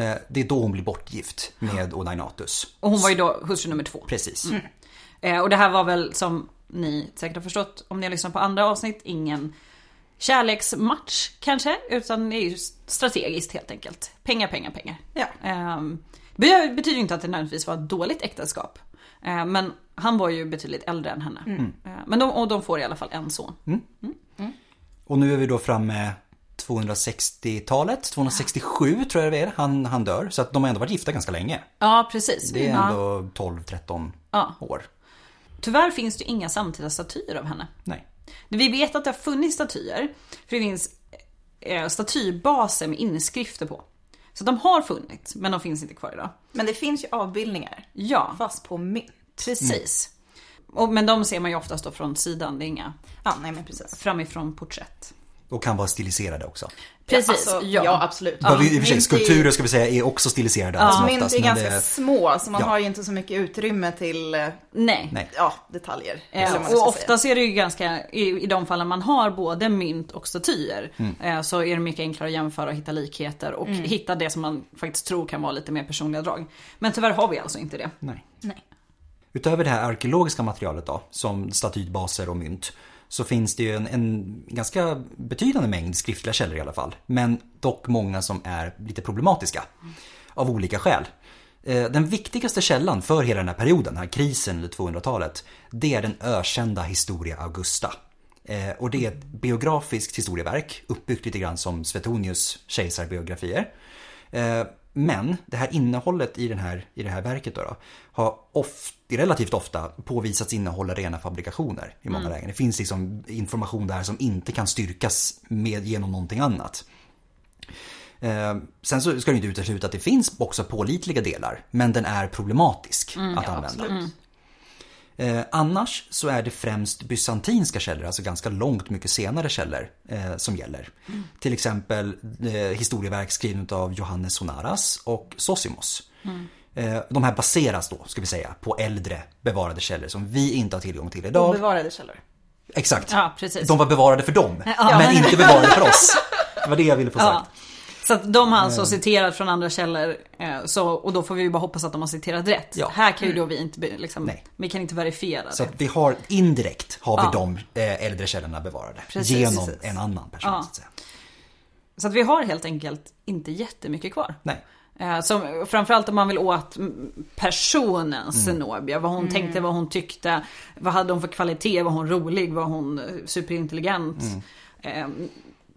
eh, det är då hon blir bortgift med Odainatus. Och hon var ju då hustru nummer två. Precis. Eh, och det här var väl som ni säkert har förstått om ni har lyssnat på andra avsnitt, ingen kärleksmatch kanske. Utan det är ju strategiskt helt enkelt. Pengar, pengar, pengar. Ja. Ehm, Det betyder ju inte att det nödvändigtvis var ett dåligt äktenskap. Eh, Men han var ju betydligt äldre än henne. Mm. Eh, Men de, och de får i alla fall en son. Och nu är vi då framme 260-talet, 267 tror jag det är, han, han dör. Så att de har ändå varit gifta ganska länge. Ja precis. Det är ja. ändå 12-13 Ja. år. Tyvärr finns det ju inga samtida statyer av henne. Nej. Vi vet att det har funnits statyer. För det finns eh, statybaser med inskrifter på. Så de har funnits, men de finns inte kvar idag. Men det finns ju avbildningar, Ja, fast på mynt. precis. Och, men de ser man ju oftast då från sidan, det är inga Ja, nej men precis. framifrån porträtt. Och kan vara stiliserade också. Precis, Alltså, ja. absolut. Ja, vi, I och för sig, Mynt är ju- skulpturer ska vi säga är också stiliserade. allt som Mynt oftast, är men ganska det- små så man Ja. har ju inte så mycket utrymme till eh, Nej. Nej. ja, detaljer. Eh, eller vad man ska och säga. oftast är det ju ganska, i, i de fallen man har både mynt och statyer, eh, så är det mycket enklare att jämföra och hitta likheter och Mm. hitta det som man faktiskt tror kan vara lite mer personliga drag. Men tyvärr har vi alltså inte det. Nej. Nej. Utöver det här arkeologiska materialet då, som statybaser och mynt, så finns det ju en, en ganska betydande mängd skriftliga källor i alla fall. Men dock många som är lite problematiska. Av olika skäl. Eh, Den viktigaste källan för hela den här perioden, den här krisen under 200-talet, det är den ökända Historia Augusta. Eh, Och det är ett biografiskt historieverk, uppbyggt lite grann som Svetonius kejsarbiografier. Eh, Men det här innehållet i, den här, i det här verket då då, har of, relativt ofta påvisats innehålla rena fabrikationer i många lägen. Det finns liksom information där som inte kan styrkas med, genom någonting annat. Eh, Sen så ska det inte utesluta att det finns också pålitliga delar, men den är problematisk Mm. att använda. Eh, annars så är det främst bysantinska källor, alltså ganska långt mycket senare källor eh, som gäller. Mm. Till exempel eh, historieverk skrivna av Johannes Sonaras och Sosimos. Mm. Eh, de här baseras då, ska vi säga, på äldre bevarade källor som vi inte har tillgång till idag. Obevarade källor. Exakt. Ja, precis. De var bevarade för dem, Ja. men inte bevarade för oss. Det var det jag ville få sagt. Ja. Så att de har Eh. alltså citerat från andra källor eh, så, och då får vi ju bara hoppas att de har citerat rätt. Ja. Här kan ju då vi inte, be- liksom, Nej. vi kan inte verifiera Så det. att vi har indirekt har vi Ja. de eh, äldre källorna bevarade. Precis. genom Precis. en annan person. Ja. Så att säga. Så att vi har helt enkelt inte jättemycket kvar. Nej. Eh, Som, framförallt om man vill åt mm, Mm. personen Zenobia. Vad hon tänkte, vad hon tyckte. Vad hade hon för kvalitet? Var hon rolig? Var hon eh, superintelligent? Mm. Eh,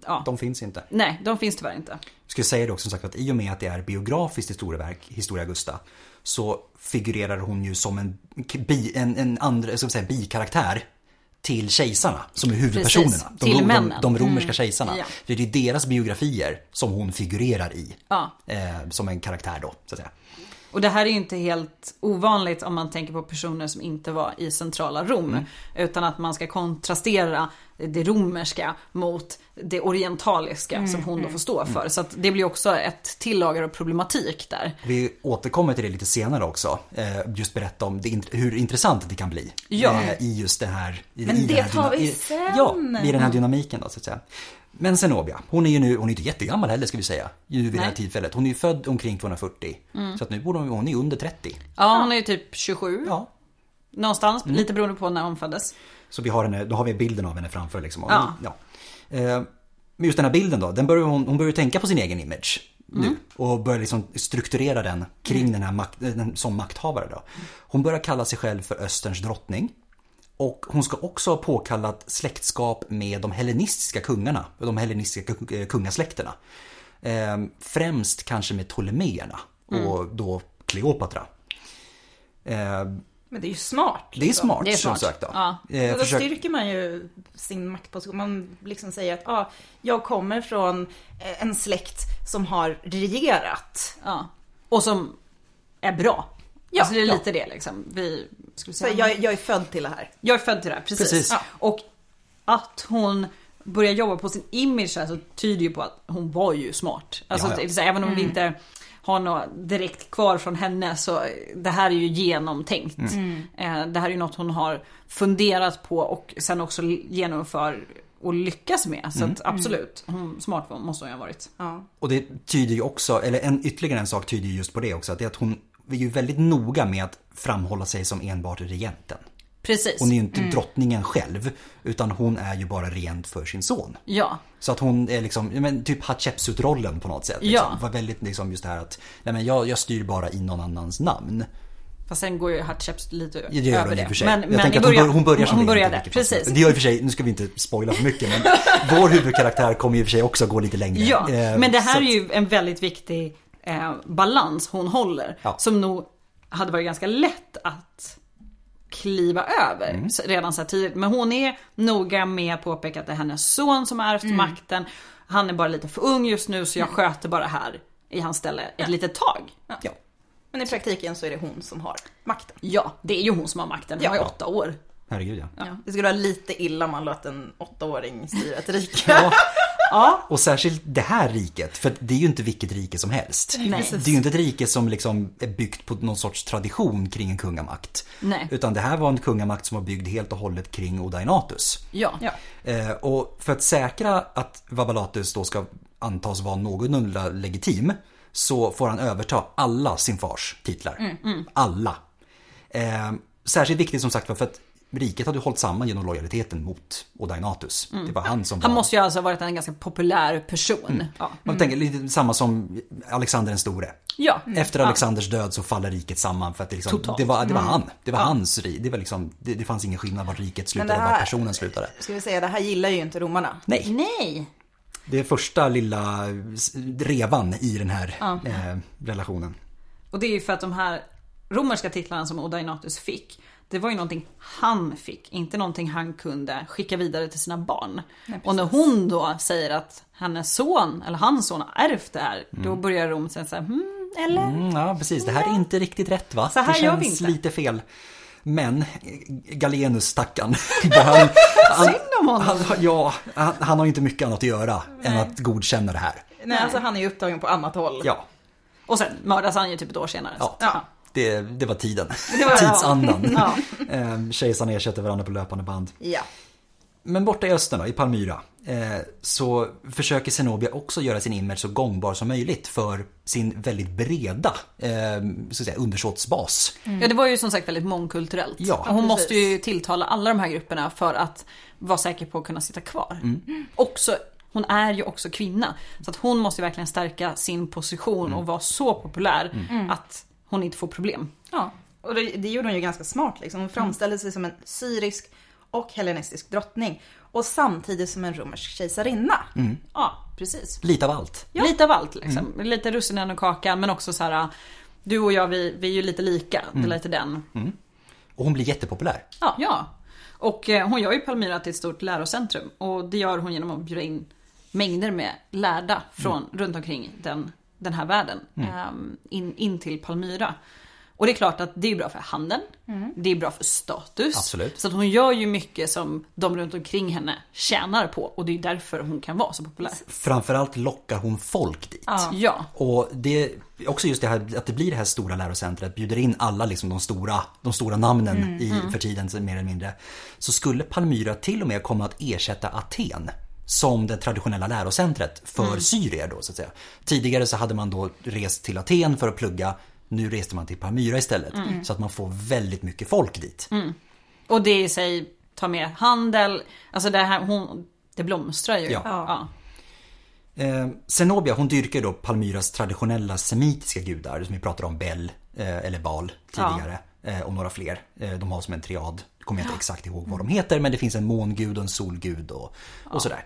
ja. De finns inte. Nej, de finns tyvärr inte. Jag skulle säga det också som sagt att i och med att det är biografiskt historieverk, Historia Augusta, så figurerar hon ju som en, bi, en, en andra, jag ska säga, bikaraktär till kejsarna som är huvudpersonerna. Precis, de, till rom- männen. Mm. de, de romerska kejsarna. ja. Det är ju deras biografier som hon figurerar i. Ja. Eh, som en karaktär då, så att säga. Och det här är ju inte helt ovanligt om man tänker på personer som inte var i centrala Rom. Utan att man ska kontrastera det romerska mot det orientaliska som hon då får stå för. Så att det blir också ett tillager av problematik där. Vi återkommer till det lite senare också. Eh, just berätta om det, int- hur intressant det kan bli. Ja. Eh, I just det här. I, Men i det den här tar vi dyna- i- sen. Ja, i den här dynamiken då så att säga. Men Zenobia, hon är ju nu, hon är inte jättegammal heller ska vi säga. Ju vid det här Nej. tillfället. Hon är ju född omkring 240. Mm. Så att nu borde hon, hon är ju under 30. Ja, hon är ju typ 27. Ja. Någonstans, lite beroende på när hon föddes. Så vi har henne, då har vi bilden av henne framför liksom. Och, Ja. ja. Eh, Men just den här bilden då, den börjar hon, hon börjar tänka på sin egen image Mm. nu. Och börjar liksom strukturera den kring den här makt, eh, den, som makthavare då. Hon börjar kalla sig själv för Österns drottning. Och hon ska också ha påkallat släktskap med de hellenistiska kungarna, de hellenistiska ku- eh, kungasläkterna. Ehm, Främst kanske med Ptolemeerna Mm. och då Kleopatra. Ehm, Men det är ju smart. Det är liksom. smart, Det är smart. som sagt. Då. Ja. Och Ehm, då försök- styrker man ju sin maktposition. Man liksom säger att ah, jag kommer från eh, en släkt som har regerat. Ja. Och som är bra. Ja, alltså det är ja. lite det liksom. Vi, skulle Så säga, jag, jag, jag är född till det här. är född till det här, precis. Precis. Ja. Och att hon börjar jobba på sin image så här, så tyder ju på att hon var ju smart. Alltså, Ja, ja. det är Så här, även om vi inte har något direkt kvar från henne så eh, det här är ju genomtänkt. Mm. Eh, Det här är ju något hon har funderat på och sen också genomför och lyckas med. Mm. Så att absolut, hon, smart måste hon ju ha varit. Ja. Och det tyder ju också, eller en, ytterligare en sak tyder ju just på det också, att det är att hon är ju väldigt noga med att framhålla sig som enbart regenten. Precis. Hon är ju inte drottningen själv, utan hon är ju bara regent för sin son. Ja. Så att hon är liksom, ja, men typ Hatshepsut-rollen på något sätt. Liksom. Ja. Var väldigt liksom just det här att, nej men jag, jag styr bara i någon annans namn. Fast sen går ju Hatshepsut lite Det gör över hon i det. och för sig. Men, jag men tänker i att hon, början, bör, hon börjar som hon regent, började, vilket fast- precis. Det gör i och för sig, nu ska vi inte spoila för mycket, men vår huvudkaraktär kommer ju i och för sig också gå lite längre. Ja, Eh, men det så här att- är ju en väldigt viktig eh, balans hon håller. Ja. Som nog hade varit ganska lätt att kliva över Mm. så- redan så här tidigt. Men hon är noga med att påpeka att det är hennes son som har ärvt Mm. makten. Han är bara lite för ung just nu så jag sköter bara här i hans ställe ett litet tag. Ja. Men i praktiken så är det hon som har makten. Ja, det är ju hon som har makten. Hon Ja. har ju åtta år. Herregud ja. Det skulle vara lite illa om man lät en åttaåring styra ett rike. ja. Ja, Och särskilt det här riket, för att det är ju inte vilket rike som helst. Nej. Det är ju inte ett rike som liksom är byggt på någon sorts tradition kring en kungamakt. Nej. Utan det här var en kungamakt som var byggd helt och hållet kring Odaenatus. ja. Ja. Eh, och för att säkra att Vabalatus då ska antas vara någorlunda legitim så får han överta alla sin fars titlar. Mm, Alla. Eh, särskilt viktigt som sagt var för att riket hade ju hållit samman genom lojaliteten mot Odaenatus. Det var han som Mm. Han var... måste ju alltså ha varit en ganska populär person. Mm. Ja. Man tänker lite samma som Alexander den store. Mm. Ja. Efter Alexanders död så faller riket samman för att det, liksom, Totalt. Mm. det, var, det var han. Det var hans ri. Det, var liksom, det, det fanns ingen skillnad var riket slutade det och var här- personen slutade. Ska vi säga, det här gillar ju inte romarna. Nej, Nej. det är första lilla s- revan i den här eh, relationen. Och det är ju för att de här romerska titlarna som Odaenatus fick, det var ju någonting han fick, inte någonting han kunde skicka vidare till sina barn. och när hon då säger att hennes son, eller hans son har ärvt det här, då börjar Rom säga såhär, hmm, eller? Mm, ja, precis. Det här är inte riktigt rätt va? Så här det gör vi känns inte. lite fel. Men eh, Galenus stackarn. han, han, Synd om honom. han, ja, han, han har ju inte mycket annat att göra än att godkänna det här. Nej, alltså han är ju upptagen på annat håll. Ja. Och sen mördas han ju typ ett år senare. Ja. Ja. Det, det var tiden. var- Tidsandan. Ja. Eh, Kejsarna ersätter varandra på löpande band. Ja. Men borta i östern då, i Palmyra, eh, så försöker Zenobia också göra sin image så gångbar som möjligt för sin väldigt breda eh, så att säga, undersåtsbas. Ja det var ju som sagt väldigt mångkulturellt. Ja. och Ja, hon precis. måste ju tilltala alla de här grupperna för att vara säker på att kunna sitta kvar. Också, hon är ju också kvinna. Så att hon måste ju verkligen stärka sin position och vara så populär att hon inte får problem. ja. Och det, det gjorde hon ju ganska smart liksom. Hon framställde sig som en syrisk och hellenistisk drottning. Och samtidigt som en romersk kejsarinna. Ja, precis. Lite av allt. Lite av allt liksom. Lite russinen och kakan men också så här. Du och jag vi, vi är ju lite lika. Det är lite den. Och hon blir jättepopulär. Ja. ja. Och eh, hon gör ju Palmyra till ett stort lärocentrum. Och det gör hon genom att bjuda in mängder med lärda från runt omkring den, den här världen. ehm, in, in till Palmyra. Och det är klart att det är bra för handeln. Det är bra för status. Absolut. Så att hon gör ju mycket som de runt omkring henne tjänar på. Och det är därför hon kan vara så populär. Framförallt lockar hon folk dit. Ja. ja. Och det, också just det här att det blir det här stora lärocentret, bjuder in alla liksom de stora, de stora namnen i, för tiden så mer eller mindre. Så skulle Palmyra till och med komma att ersätta Aten som det traditionella lärocentret för syrier då så att säga. Tidigare så hade man då rest till Aten för att plugga, nu reste man till Palmyra istället. Så att man får väldigt mycket folk dit. Och det i sig tar med handel. Alltså det här, hon, det blomstrar ju. Ja. ja. Eh, Zenobia hon dyrkar ju då Palmyras traditionella semitiska gudar som vi pratade om Bel eh, eller Baal tidigare. Eh, och några fler. Eh, de har som en triad. Kommer jag inte exakt ihåg vad de heter men det finns en mångud och en solgud och, och sådär.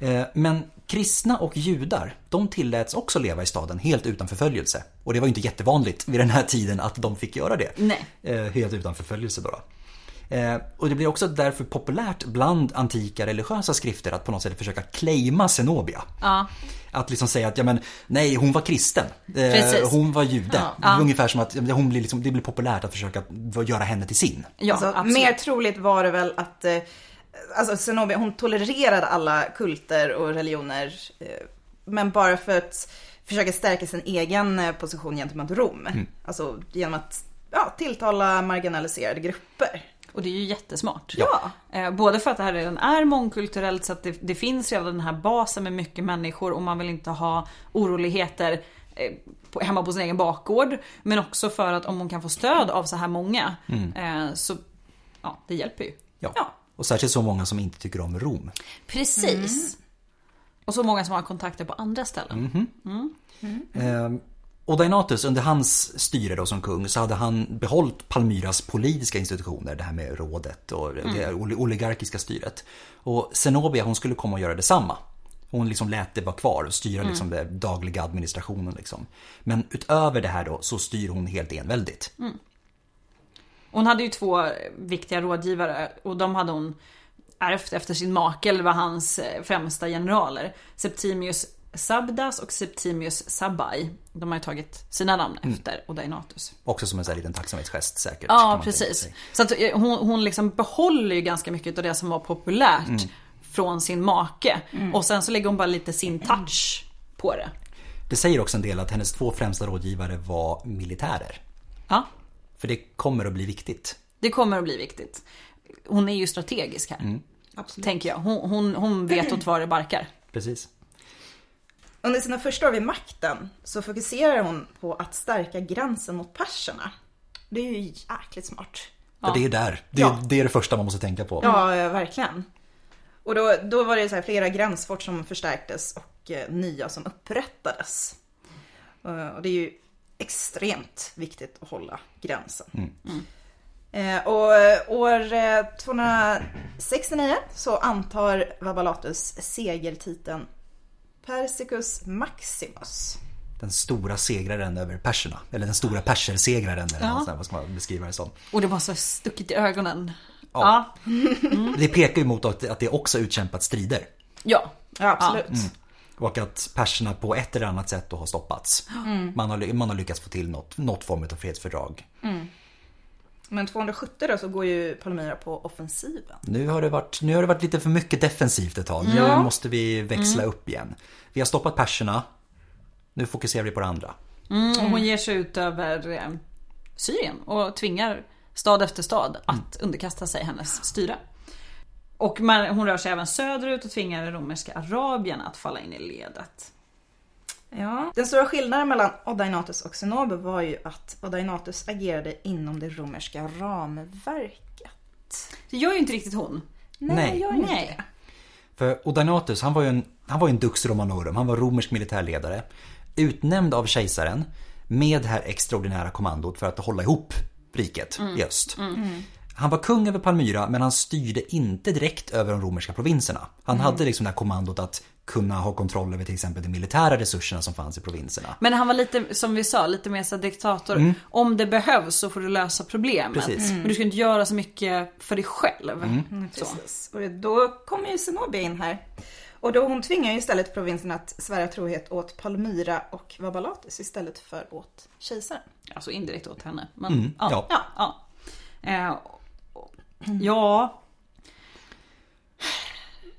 Eh, men kristna och judar de tilläts också leva i staden helt utan förföljelse. Och det var ju inte jättevanligt vid den här tiden att de fick göra det. Nej. Eh, helt utan förföljelse då. då. Eh, och det blir också därför populärt bland antika religiösa skrifter att på något sätt försöka claima Zenobia. Ja. Att liksom säga att ja, men, nej, hon var kristen. Eh, Precis. hon var jude. Ungefär som att ja, men hon blir liksom, det blir populärt att försöka göra henne till sin. Ja, alltså, absolut. mer troligt var det väl att eh, alltså Zenobia, hon tolererade alla kulter och religioner. Eh, men bara för att försöka stärka sin egen eh, position gentemot Rom. Alltså genom att ja, tilltala marginaliserade grupper. Och det är ju jättesmart. Ja. Eh, Både för att det här redan är mångkulturellt så att det, det finns redan den här basen med mycket människor och man vill inte ha oroligheter eh, på, hemma på sin egen bakgård. Men också för att om hon kan få stöd av så här många eh, så ja, det hjälper ju. Ja. Ja. Och särskilt så många som inte tycker om Rom. Precis. Mm. Och så många som har kontakter på andra ställen. Eh, och Dainatus, under hans styre då som kung så hade han behållit Palmyras politiska institutioner, det här med rådet och det oli- oligarkiska styret. Och Zenobia hon skulle komma och göra detsamma. Hon liksom lät det vara kvar och styra liksom den dagliga administrationen. Liksom. Men utöver det här då så styr hon helt enväldigt. Och Hon hade ju två viktiga rådgivare och de hade hon ärvt efter sin make eller var hans eh, främsta generaler. Septimius Sabdas och Septimius Sabai. De har ju tagit sina namn efter Odaenatus. Också som en sån här liten tacksamhetsgest säkert. kan Ja Mm. man tänka precis. sig. Så att eh, hon, hon liksom behåller ju ganska mycket av det som var populärt Mm. från sin make. Och sen så lägger hon bara lite sin touch på det. Det säger också en del att hennes två främsta rådgivare var militärer. Ja, För det kommer att bli viktigt. det kommer att bli viktigt. Hon är ju strategisk här. Mm. Tänker jag. Hon, hon, hon vet åt var det barkar. Precis. Under sina första år vid makten så fokuserar hon på att stärka gränsen mot perserna. Det är ju jäkligt smart. För det är där. Det är, Ja. det är det första man måste tänka på. Ja, eh, verkligen. Och då, då var det så här flera gränsfort som förstärktes och eh, nya som upprättades. Eh, Och det är ju extremt viktigt att hålla gränsen. Mm. Eh, Och eh, år eh, 269 så antar Vabalatus segertiteln Persicus Maximus. Den stora segraren över perserna. Eller den stora persersegraren eller något sånt där, vad ska man beskriva det som. Och det var så stuckit i ögonen. Ja. Ja. Ja, Det pekar ju mot att att det också utkämpat strider. Ja, absolut. Och att perserna på ett eller annat sätt då har stoppats. Mm. Man, har, ly- man har lyckats få till något, något form av fredsfördrag. Men 270 då så går ju Palmyra på offensiven. Nu har, det varit, nu har det varit lite för mycket defensivt ett tag. Nu måste vi växla upp igen. Vi har stoppat perserna. Nu fokuserar vi på det andra. Mm, och hon ger sig ut över eh, Syrien och tvingar stad efter stad att underkasta sig hennes styre. Och man, hon rör sig även söderut och tvingar de romerska arabierna att falla in i ledet. Ja. Den stora skillnaden mellan Odaenatus och Sinobe var ju att Odaenatus agerade inom det romerska ramverket. Det gör ju inte riktigt hon. Nej. jag inte Nej. det. För Odaenatus, han var ju en, han var ju en dux romanorum, han var romersk militärledare. Utnämnd av kejsaren med det här extraordinära kommandot för att hålla ihop riket i öst. Han var kung över Palmyra men han styrde inte direkt över de romerska provinserna. Han hade liksom det här kommandot att kunna ha kontroll över till exempel de militära resurserna som fanns i provinserna. Men han var lite, som vi sa, lite mer så här diktator. Om det behövs så får du lösa problemet. Precis. Men du ska inte göra så mycket för dig själv. Så. Precis. Och då kommer ju Zenobia in här. Och då hon tvingar ju istället provinsen att svära trohet åt Palmyra och Vabalatus istället för åt kejsaren. Alltså indirekt åt henne. ja. Men, Mm, ja. Ja, ja. Eh, och- ja.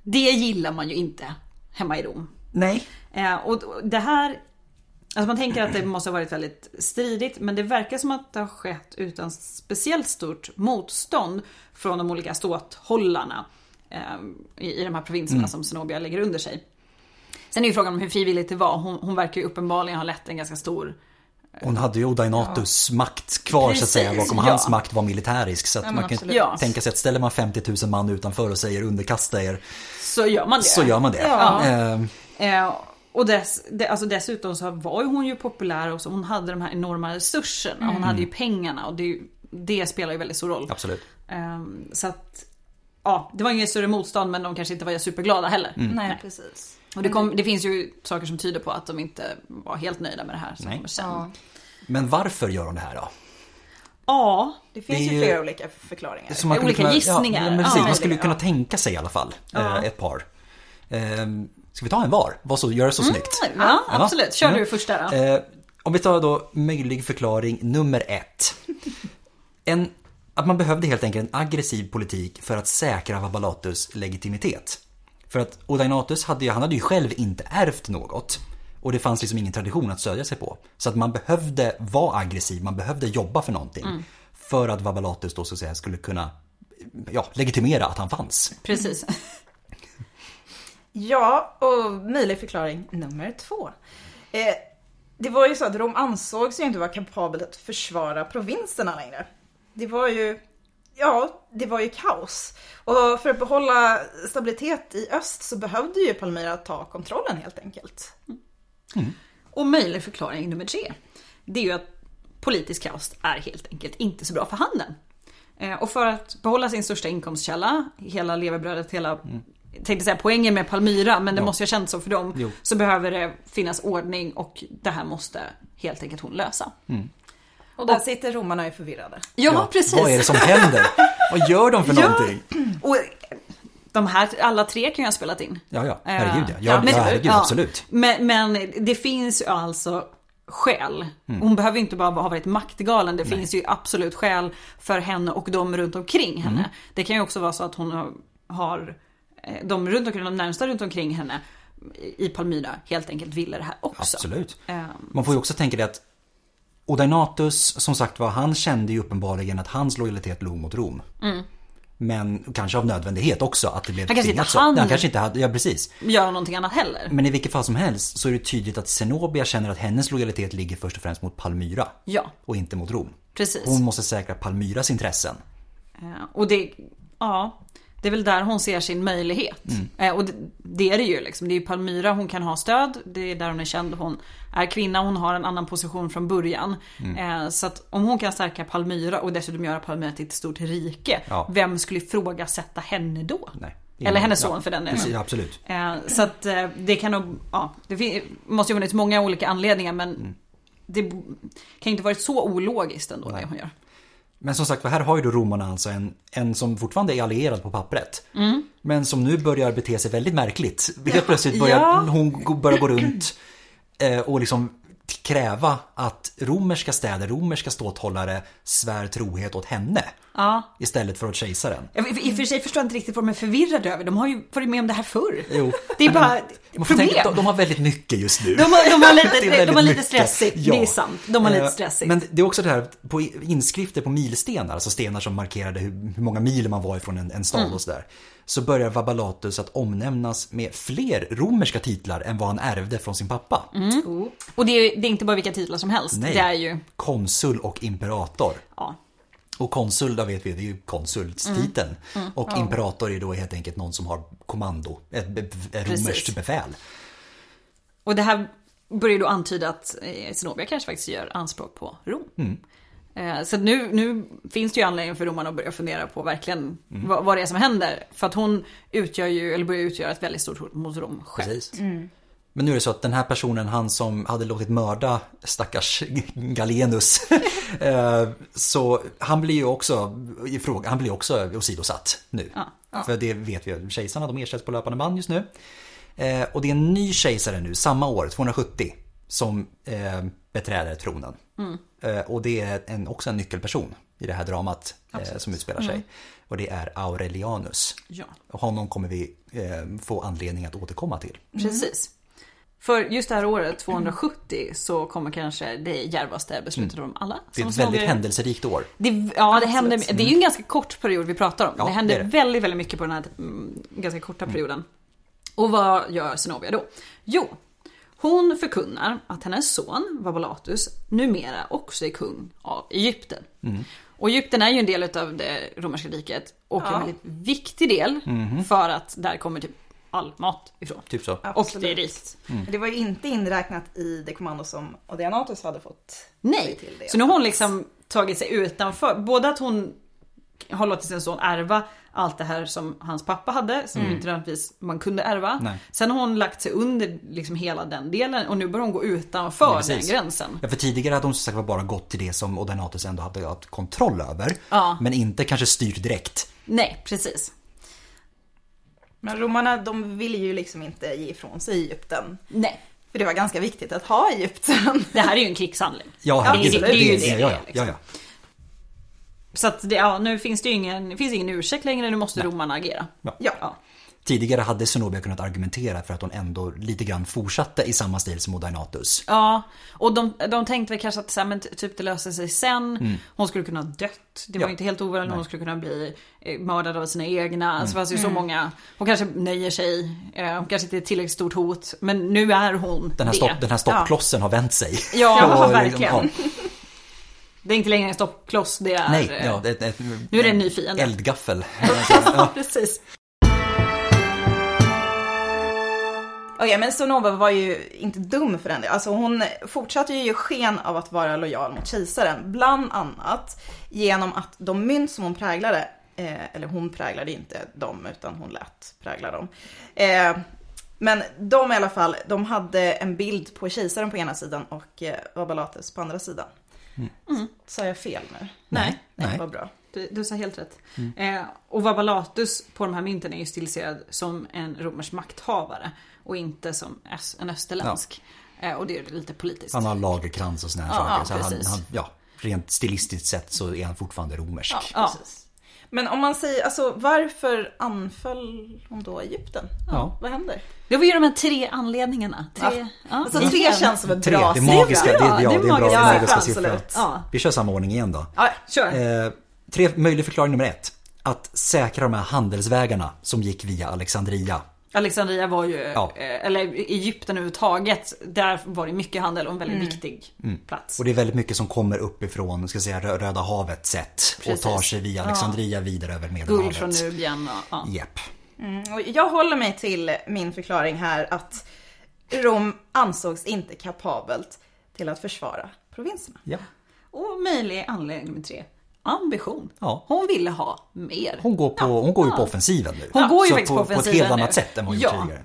Det gillar man ju inte hemma i Rom. Nej. Eh, och och det här... Alltså man tänker att det måste ha varit väldigt stridigt men det verkar som att det har skett utan speciellt stort motstånd från de olika ståthållarna eh, i, i de här provinserna som Zenobia lägger under sig. Sen är ju frågan om hur frivilligt det var. Hon, hon verkar ju uppenbarligen ha lett en ganska stor Hon hade ju Odaenatus makt kvar så att Precis, säga bakom. ja. Hans makt var militärisk så att man kan absolut. Ja. tänka sig att ställer man 50 000 man utanför och säger underkasta er Så gör man det. så gör man det. Ja. Eh, Eh, Och dess, de, alltså dessutom så var ju hon ju populär och så, hon hade de här enorma resurserna. Hon hade ju pengarna och det, är ju- det spelar ju väldigt stor roll. Mm. Absolut. Ehm, så att, ja, det var ingen större motstånd men de kanske inte var superglada heller. Mm. Nej, precis. Och det, kom, det finns ju saker som tyder på att de inte var helt nöjda med det här som Nej. kommer sen. Ja. Ja. Men varför gör hon det här då? Det finns Det är ju ju- flera olika förklaringar. Som man skulle Olika gissningar. Ja, men precis, Ja. man skulle kunna tänka sig i alla fall. Ja. Eh, ett par. Eh, ska vi ta en var? Vad så, gör det så Mm. snyggt. Ja, absolut. Kör du först där då. Eh, om vi tar då möjlig förklaring nummer ett. En, att man behövde helt enkelt en aggressiv politik för att säkra Vabbalatus legitimitet. För att Odaenatus hade ju, han hade ju själv inte ärvt något. Och det fanns liksom ingen tradition att stödja sig på. Så att man behövde vara aggressiv, man behövde jobba för någonting. Mm. För att Vabbalatus då så att säga skulle kunna ja, legitimera att han fanns. Precis. Ja, och möjlig förklaring nummer två. Eh, det var ju så att Rom ansågs ju inte vara kapabelt att försvara provinserna längre. Det var ju, ja, det var ju kaos. Och för att behålla stabilitet i öst så behövde ju Palmyra ta kontrollen helt enkelt. Och möjlig förklaring nummer tre. Det är ju att politisk kaos är helt enkelt inte så bra för handeln. Eh, Och för att behålla sin största inkomstkälla, hela levebrödet, hela Mm. tänkte säga poängen med Palmyra, men det måste ju ha känts så för dem. Jo. Så behöver det finnas ordning och det här måste helt enkelt hon lösa. Och där sitter romarna ju förvirrade. Ja, Mm. Ja, precis. Vad är det som händer? Vad gör de för Ja. någonting? Och de här, alla tre kan ju ha spelat in. Ja, ja, herregud ja. Eh, Ja, men- ja herregud, ja. absolut. Men, men det finns ju alltså skäl. Mm. Hon behöver inte bara ha varit maktgalen. Det finns ju absolut skäl för henne och de runt omkring henne. Mm. Det kan ju också vara så att hon har- har eh, de runt omkring, de närmsta runt omkring henne i Palmyra helt enkelt ville det här också. Absolut. Ehm, Man får ju också tänka det att Odaenatus, som sagt var, han kände ju uppenbarligen att hans lojalitet låg mot Rom. Men kanske av nödvändighet också att det blev Mm. Han kanske inte tvingat så. hann. Nej, Han kanske inte hade, ja precis. Göra någonting annat heller. Men i vilket fall som helst så är det tydligt att Zenobia känner att hennes lojalitet ligger först och främst mot Palmyra. Ja, Och inte mot Rom. precis. Hon måste säkra Palmyras intressen. Eh, Och det, ja, det är väl där hon ser sin möjlighet. Mm. Eh, Och det, det är det ju liksom. Det är ju Palmyra hon kan ha stöd. Det är där hon är känd. Hon är kvinna, hon har en annan position från början. Mm. Eh, Så att om hon kan stärka Palmyra och dessutom göra Palmyra till ett stort rike. Ja. Vem skulle ifrågasätta henne då? Nej. Eller hennes Ja, son för den delen. Precis, absolut. Eh, Så att eh, det kan nog, ja, det fin- måste ju ha funnits många olika anledningar men Mm. det b- kan ju inte varit så ologiskt ändå det hon gör. Men som sagt var, här har ju då romarna alltså en, en som fortfarande är allierad på pappret. Men som nu börjar bete sig väldigt märkligt. Helt plötsligt börjar Mm. Ja. hon gå- börjar gå runt eh, och liksom t- kräva att romerska städer, romerska ståthållare svär trohet åt henne. Istället för åt kejsaren. Jag- I i och för sig förstår jag inte riktigt vad de är förvirrade över. De har ju varit med om det här förr. Jo. Det är bara Man får problem. tänka, de, de har väldigt mycket just nu. De har, de har Det är lite, de väldigt har lite mycket. stressigt, det Ja. är sant. De har lite Eh, stressigt. Men det är också det här på inskrifter på milstenar, alltså stenar som markerade hur hur många mil man var ifrån en, en stad Mm. och sådär. Så börjar Vabbalatus att omnämnas med fler romerska titlar än vad han ärvde från sin pappa. Mm. Och det är, det är inte bara vilka titlar som helst. Nej. Det är ju, Konsul och imperator. ja. Och konsul, där vet vi, det är ju konsultstiteln. Mm. Och imperator är då helt enkelt någon som har kommando, ett, be- ett romerskt Precis. befäl. Och det här börjar ju då antyda att eh, Zenobia kanske faktiskt gör anspråk på Rom. Mm. Eh, Så att nu, nu finns det ju anledning för romarna att börja fundera på verkligen Mm. vad, vad det är som händer. För att hon utgör ju, eller börjar utgöra ett väldigt stort hot mot Rom själv. Precis. Men nu är det så att den här personen, han som hade låtit mörda stackars Galenus. eh, så han blir ju också, i fråga, han blir också åsidosatt nu. För det vet vi, kejsarna de ersätts på löpande band just nu. Eh, och det är en ny kejsare nu, samma år, 270, som eh, beträder tronen. Eh, och det är en, också en nyckelperson i det här dramat eh, som utspelar sig. Och det är Aurelianus. Ja. Och Honom kommer vi eh, få anledning att återkomma till. Precis. För just det här året, 270, så kommer kanske det djärvaste beslutet av dem alla. Mm. Det är som ett väldigt Zenobia- händelserikt år. Det, ja, det, händer, det är ju en ganska kort period vi pratar om. Ja, det händer det är det. väldigt, väldigt mycket på den här mm, ganska korta perioden. Och vad gör Zenobia då? Jo, hon förkunnar att hennes son Vabalatus numera också är kung av Egypten. Mm. Och Egypten är ju en Mm-hmm. del av det romerska riket och en väldigt viktig del för att där kommer typ all mat ifrån. Typ så. Och det är rikt. Det var ju inte inräknat i det kommando som Odeanatus hade fått. Nej, till det. så nu har hon liksom tagit sig utanför. Både att hon har låtit sin son ärva allt det här som hans pappa hade, som inte nödvändigtvis man kunde ärva. Nej. Sen har hon lagt sig under liksom hela den delen och nu börjar hon gå utanför Ja, precis. den gränsen. Ja, för tidigare hade hon som sagt var bara gått till det som Odenatus ändå hade haft kontroll över. Ja. Men inte kanske styrt direkt. Nej, precis. Men romarna de ville ju liksom inte ge ifrån sig Egypten. Nej. För det var ganska viktigt att ha Egypten. Det här är ju en krigshandling. Ja, herregud, det är ju det Ja, ja, ja, liksom. ja. Så att det, ja, nu finns det ju ingen, det finns ingen ursäkt längre, nu måste romarna agera. Ja. Tidigare hade Zenobia kunnat argumentera för att hon ändå lite grann fortsatte i samma stil som Odenatus. Ja, och de, de tänkte väl kanske att så här, men ty- typ det löser sig sen. Hon skulle kunna ha dött. Det var Mm. Ja. ju inte helt ovanligt. Hon skulle kunna bli eh, mördad av sina egna. Alltså, Mm. det fanns ju så många. Hon kanske nöjer sig. Eh, hon kanske inte är ett tillräckligt stort hot. Men nu är hon Den här, det. stopp, den här stoppklossen har vänt sig. Ja, Och liksom, verkligen. ja. Det är inte längre en stoppkloss. Det är... Nej, eh, ja, ett, ett, Nu är det en ny fiende. Eldgaffel. ja, precis. Okej, men Sonova var ju inte dum för den delen. Alltså hon fortsatte ju ge sken av att vara lojal mot kejsaren. Bland annat genom att de mynt som hon präglade, eh, eller hon präglade inte dem utan hon lät prägla dem. Eh, men de i alla fall, de hade en bild på kejsaren på ena sidan och eh, Vabalates på andra sidan. Mm. Sa jag fel nu? Nej. Nej, Nej. vad bra. Du, du sa helt rätt. Mm. Eh, och Vabalatus på de här mynten är ju stiliserad som en romersk makthavare och inte som ös- en österländsk. Eh, och det är lite politiskt. Han har lagerkrans och såna här Ja, saker. Så han, precis. han, ja, rent stilistiskt sett så är han fortfarande romersk. Ja. Precis. Men om man säger, alltså varför anföll hon då Egypten? Ja. Vad händer? Det var ju de här tre anledningarna. Tre, ja. Alltså verkligen. tre känns som ett Tre, bra det magiska, det, siffra. ja, det är en bra magiska magiska siffra, siffra. absolut. Ja. Vi kör samma ordning igen då. Ja, kör. Eh, tre, möjlig förklaring nummer ett. Att säkra de här handelsvägarna som gick via Alexandria. Alexandria var ju, Ja. eh, eller Egypten överhuvudtaget, där var det mycket handel och en väldigt viktig plats. Mm. Och det är väldigt mycket som kommer uppifrån, ska säga Rö- Röda havet sett. Och Precis. tar sig via Alexandria vidare över Guld från Medelhavet. Nubien och ja. Japp. Mm. Och jag håller mig till min förklaring här att Rom ansågs inte kapabelt till att försvara provinserna. Ja. Och möjlig anledning nummer tre. Ambition. Ja. Hon ville ha mer. Hon går, på, hon går ju på offensiven nu. Hon går ju Så faktiskt på På ett offensiven helt nu. annat sätt än vad hon Ja. gjort tidigare.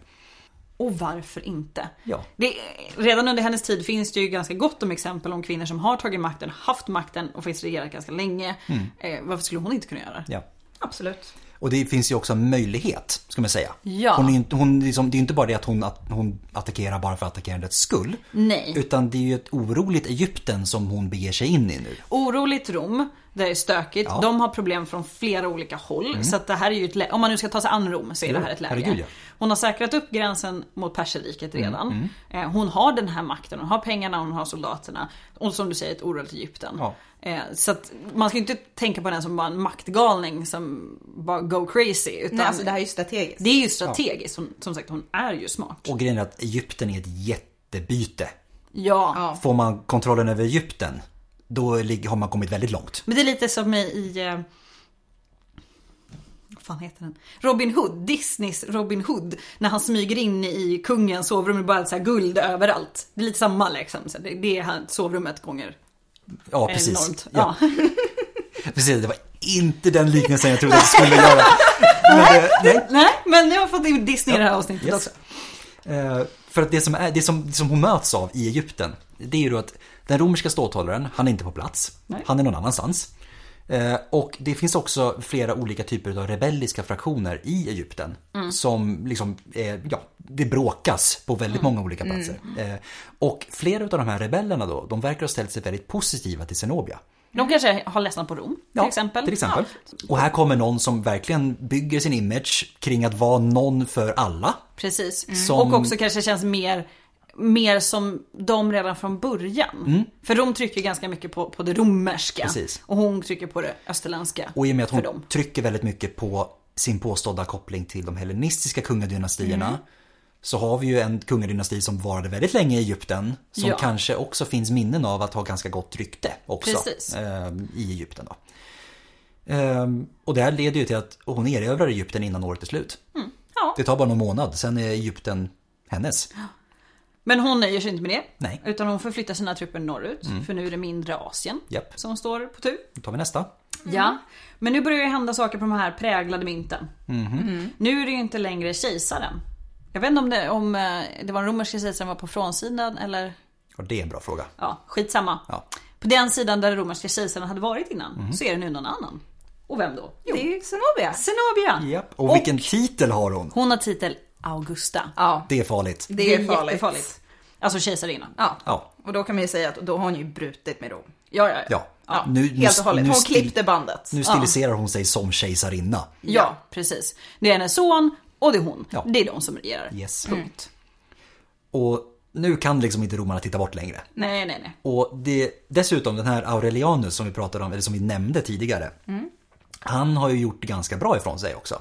Och varför inte? Ja. Det, redan under hennes tid finns det ju ganska gott om exempel om kvinnor som har tagit makten, haft makten och finns regerat ganska länge. Mm. Eh, varför skulle hon inte kunna göra det? Ja. Absolut. Och det finns ju också en möjlighet, ska man säga. Ja. Hon är, ju inte- hon liksom, det är ju inte bara det att hon, att hon attackerar bara för attackerandets skull. Nej. Utan det är ju ett oroligt Egypten som hon beger sig in i nu. Oroligt Rom, där det är stökigt. Ja. Mm. De har problem från flera olika håll. Så att det här är ju ett lä- Om man nu ska ta sig an Rom så är det Jo, här ett läge. herregud, ja. Mm, Hon har säkrat upp gränsen mot perserriket redan. Eh, Hon har den här makten, hon har pengarna, hon har soldaterna. Och som du säger ett oroligt Egypten. Ja. Eh, Så att man ska ju inte tänka på den som bara en maktgalning som bara go crazy. Utan Nej, alltså det här är ju strategiskt. Det är ju strategiskt, som, som sagt hon är ju smart. Och grejen är att Egypten är ett jättebyte. Ja. Ja. Får man kontrollen över Egypten, då lig- har man kommit väldigt långt. Men det är lite som i... i eh, vad fan heter den? Robin Hood, Disneys Robin Hood. När han smyger in i kungens sovrum och bara så här guld överallt. Det är lite samma liksom. Så det, det är han- sovrummet gånger Ja, eh, precis. enormt. Ja. precis. Det var inte den liknelsen jag trodde jag skulle göra. Men, eh, nej. Nej, men jag har fått in Disney i det här avsnittet Yes. också. Eh, För att det som, är, det, som, det som hon möts av i Egypten, det är ju då att den romerska ståthållaren, han är inte på plats. Nej. Han är någon annanstans. Eh, Och det finns också flera olika typer av rebelliska fraktioner i Egypten. Mm. Som liksom, eh, ja, det bråkas på väldigt Mm. många olika platser. Eh, Och flera av de här rebellerna då, de verkar ha ställt sig väldigt positiva till Zenobia. De kanske har ledsnat på Rom, till exempel. Till exempel. Ja, Och här kommer någon som verkligen bygger sin image kring att vara någon för alla. precis. Som- Och också kanske känns mer, mer som de redan från början. För Rom trycker ganska mycket på, på det romerska. Mm. Precis. Och hon trycker på det österländska. Och i och med att för dem. hon trycker väldigt mycket på sin påstådda koppling till de hellenistiska kungadynastierna Mm. så har vi ju en kungadynasti som varade väldigt länge i Egypten som Ja. kanske också finns minnen av att ha ganska gott rykte också Precis. ehm, i Egypten. Då. Mm. Ehm, och det här leder ju till att hon erövrar Egypten innan året är slut. Ja. Det tar bara någon månad, sen är Egypten hennes. Men hon nöjer sig inte med det. Nej. Mm. Utan hon förflyttar sina trupper norrut. För nu är det mindre Asien Japp. som står på tur. Då tar vi nästa. Mm. Ja. Men nu börjar ju hända saker på de här präglade mynten. Mhm. Mm. Nu är det ju inte längre kejsaren. Jag vet inte om det, om eh, det var den romerska kejsaren som var på frånsidan eller Och det är en bra fråga. ja, skitsamma. Ja. Mhm. På den sidan där den romerska kejsaren hade varit innan så är det nu någon annan. Och vem då? Jo, Det är ju Zenobia. Zenobia! Japp. Och vilken titel har hon? Hon har titel Augusta. Ja, Det är farligt. det är farligt. jättefarligt. Alltså kejsarinnan. Ja. Ja. och då kan man ju säga att då har hon ju brutit med Rom. Ja, ja, Ja. Ja, Nu, nu, helt och hållet. nu, Hon stil- klippte bandet. nu stiliserar hon sig som kejsarinna. Ja, precis. Det är hennes son och det är hon. Ja. Det är de som regerar. Yes. Punkt. Och nu kan liksom inte romarna titta bort längre. Nej, nej, nej. Och det, dessutom den här Aurelianus som vi pratade om, eller som vi nämnde tidigare. Han har ju gjort det ganska bra ifrån sig också.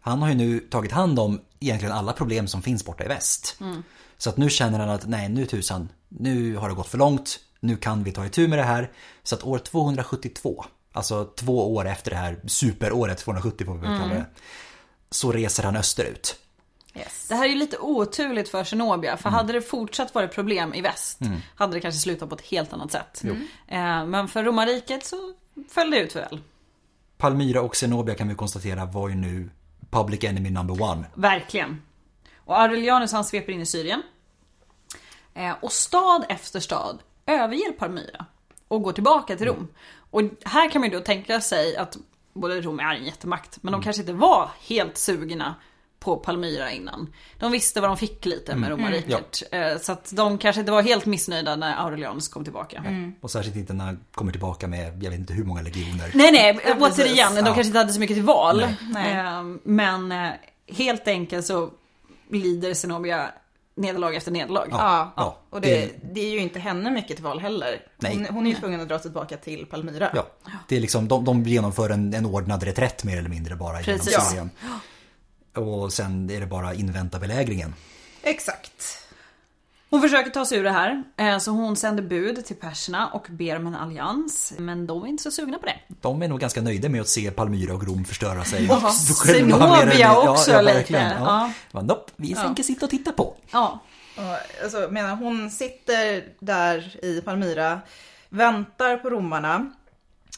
Han har ju nu tagit hand om egentligen alla problem som finns borta i väst. Så att nu känner han att nej nu tusan, nu har det gått för långt, nu kan vi ta itu med det här. Så att år 272, alltså två år efter det här superåret 270 får vi väl kalla det. Så reser han österut. Yes. Det här är ju lite oturligt för Zenobia, Mm. för hade det fortsatt varit problem i väst hade det kanske slutat på ett helt annat sätt. Eh, Men för romarriket så föll det ut väl. Palmyra och Zenobia kan vi konstatera var ju nu public enemy number one. Verkligen. Och Aurelianus han sveper in i Syrien. Eh, Och stad efter stad överger Palmyra och går tillbaka till Rom. Och här kan man ju då tänka sig att både Rom är en jättemakt, men de kanske inte var helt sugna på Palmyra innan. De visste vad de fick lite med romarriket. Eh, Så att de kanske inte var helt missnöjda när Aurelianus kom tillbaka. Och särskilt inte när han kommer tillbaka med, jag vet inte hur många legioner. Nej nej, eh, Ja, precis. återigen, de Ja. kanske inte hade så mycket till val. Nej. Eh, Men eh, helt enkelt så lider Zenobia nederlag efter nederlag. Ja, Ja, och det, det är ju inte henne mycket till val heller. Nej. Hon, hon är ju tvungen att dra tillbaka till Palmyra. Ja, det är liksom, de, de genomför en, en ordnad reträtt mer eller mindre bara genom Precis. Syrien. Och sen är det bara invänta belägringen. Exakt. Hon försöker ta sig ur det här, eh, så hon sänder bud till perserna och ber om en allians. Men de är inte så sugna på det. De är nog ganska nöjda med att se Palmyra och Rom förstöra sig. Jaha. Själva mer eller mindre- Zenobia också ja, lite. verkligen. Ja. Ja. Ja. Nope, vi tänker sitta och titta på. Ja, Och, alltså, jag menar, hon sitter där i Palmyra, väntar på romarna,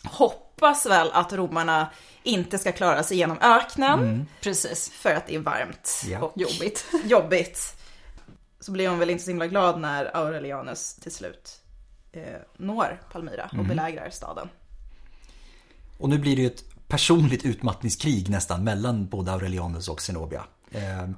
hoppas väl att romarna inte ska klara sig genom öknen precis. för att det är varmt Mm. Ja. och Jobbigt. jobbigt. Så blir hon väl inte så himla glad när Aurelianus till slut eh, når Palmyra Mm. och belägrar staden. Och nu blir det ju ett personligt utmattningskrig nästan mellan både Aurelianus och Zenobia. Eh,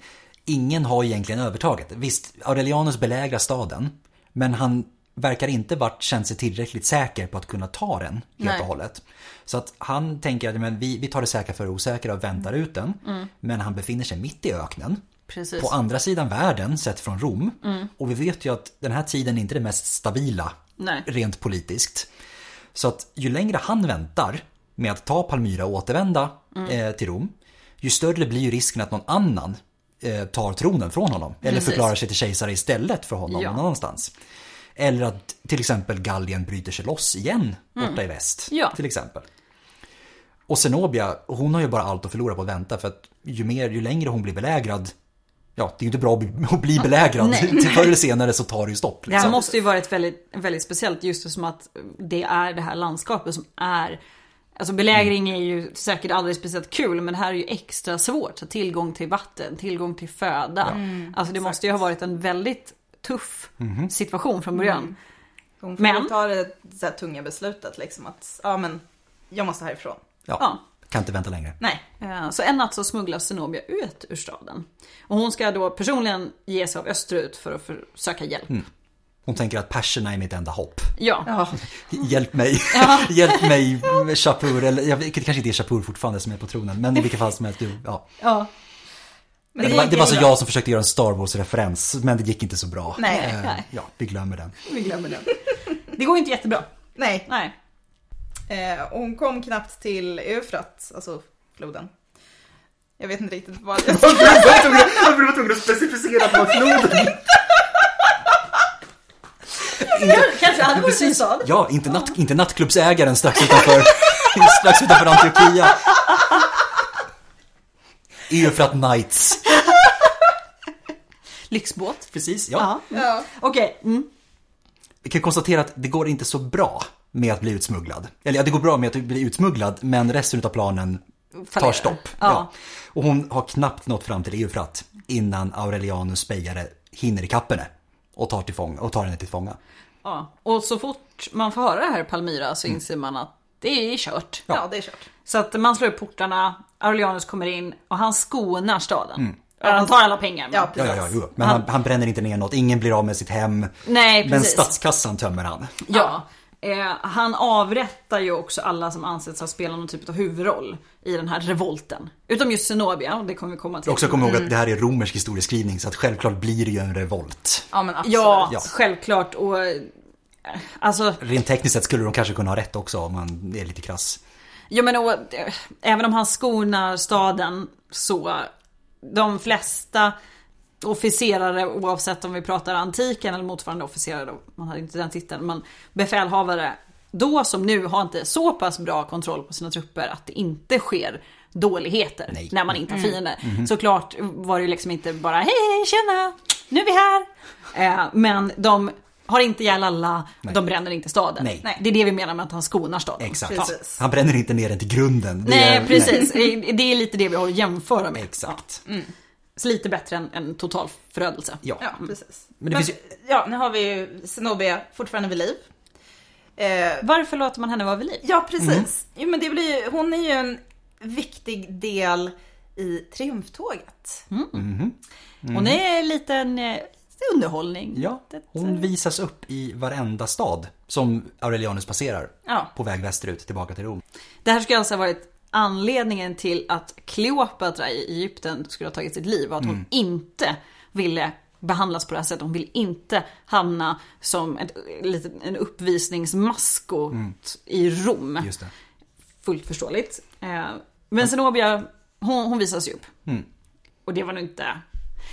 ingen har egentligen övertaget. Visst, Aurelianus belägrar staden, men han verkar inte varit, känt sig tillräckligt säker på att kunna ta den helt Nej. och hållet. Så att han tänker att men vi, vi tar det säkra för det osäkra och väntar ut den. Men han befinner sig mitt i öknen. Mm. Precis. Mm. På andra sidan världen sett från Rom. Och vi vet ju att den här tiden är inte det mest stabila Nej. rent politiskt. Så att ju längre han väntar med att ta Palmyra och återvända Mm. eh, till Rom, ju större blir ju risken att någon annan eh, tar tronen från honom. Eller Precis. förklarar sig till kejsare istället för honom Ja. någon annanstans. Eller att till exempel Gallien bryter sig loss igen borta i väst. Mm. Ja. Till exempel. Och Zenobia, hon har ju bara allt att förlora på att vänta för att ju, mer, ju längre hon blir belägrad, ja det är ju inte bra att bli- att bli belägrad. Nej. Till förr eller senare så tar det ju stopp. liksom. Det här måste ju varit väldigt, väldigt speciellt just som att det är det här landskapet som är Alltså belägring är ju säkert aldrig speciellt kul men det här är ju extra svårt. Så tillgång till vatten, tillgång till föda. alltså det måste ju ha varit en väldigt tuff situation från början. Hon får Men- men... ta det så här tunga beslutet liksom att, ja men, jag måste härifrån. Ja. Ja. Kan inte vänta längre. Nej. Eh, Så en natt så smugglas Zenobia ut ur staden. Och hon ska då personligen ge sig av österut för att för- söka hjälp. Hon tänker att perserna är mitt enda hopp. Ja. Ja, Hjälp mig, hjälp mig Shapur, eller jag vet, det kanske inte är Shapur fortfarande som är på tronen, men i vilket fall som helst. du- Ja. ja. men Det, det var, gick det var så ju- jag som försökte göra en Star Wars-referens, men det gick inte så bra. Nej. Eh, Nej. Ja, vi glömmer den. Vi glömmer den. Det går ju inte jättebra. Nej, Nej. eh, och hon kom knappt till Eufrat, alltså floden. Jag vet inte riktigt vad jag sa. Varför var du tvungen att specificera på floden? Kanske Alborg stad. Ja, inte, natt, inte nattklubbsägaren strax utanför, strax utanför Antiochia. Eufrat Knights. Lyxbåt. Precis, ja. Ja. Mm. Ja. Okej. Mm. Vi kan konstatera att det går inte så bra med att bli utsmugglad. Eller ja, det går bra med att bli utsmugglad, men resten av planen tar Fallerar. stopp. Ja. Och hon har knappt nått fram till Eufrat innan Aurelianus spejare hinner ikapp henne och tar, till fång- och tar henne till fånga. Ja. Och så fort man får höra det här i Palmyra så inser man att det är kört. ja, det är kört. Så att man slår upp portarna, Aurelianus kommer in och han skonar staden. Ja, Han tar alla pengar. men- Ja, Ja, ja, precis. ja, jo. Men han, han bränner inte ner något, ingen blir av med sitt hem. Nej, Men precis. statskassan tömmer han. Ja. Eh, han avrättar ju också alla som ansetts ha spelat någon typ av huvudroll i den här revolten. Utom just Zenobia, och det kommer vi komma till. Jag också kommer ihåg Mm. att det här är romersk historieskrivning så att självklart blir det ju en revolt. Ja, men absolut. ja, Ja. självklart. Och, eh, alltså, Rent tekniskt sett skulle de kanske kunna ha rätt också om man är lite krass. jag menar, och, eh, även om han skonar staden så de flesta officerare, oavsett om vi pratar antiken eller motsvarande officerare, då, man hade inte den titeln, men befälhavare då som nu har inte så pass bra kontroll på sina trupper att det inte sker dåligheter Nej. Mhm. när man inte har fiender. Såklart var det ju liksom inte bara hej hej tjena, nu är vi här. Eh, men de har inte ihjäl alla, de bränner inte staden. Nej. Det är det vi menar med att han skonar staden. Exakt. Ja. Precis. Han bränner inte ner den till grunden. Det Nej, är- precis. Det är lite det vi har att jämföra med. Exakt. Så lite bättre än, än total förödelse. Ja. Ja, precis. Mm. Men Men det finns Ja, nu har vi ju Zenobia fortfarande vid liv. Eh, Varför låter man henne vara vid liv? ja, precis. Mm. Jo, men det blir ju, hon är ju en viktig del i triumftåget. Mm. Hon är en liten eh, underhållning. Ja, hon visas upp i varenda stad som Aurelianus passerar. Ja. På väg västerut tillbaka till Rom. Det här skulle alltså ha varit anledningen till att Kleopatra i Egypten skulle ha tagit sitt liv. Och att Mm. hon inte ville behandlas på det här sättet. Hon vill inte hamna som ett, lite- en uppvisningsmaskot i Rom. Mm. Just det. Fullt förståeligt. Eh, Men Zenobia, hon, hon visas ju upp. Och det var nog inte,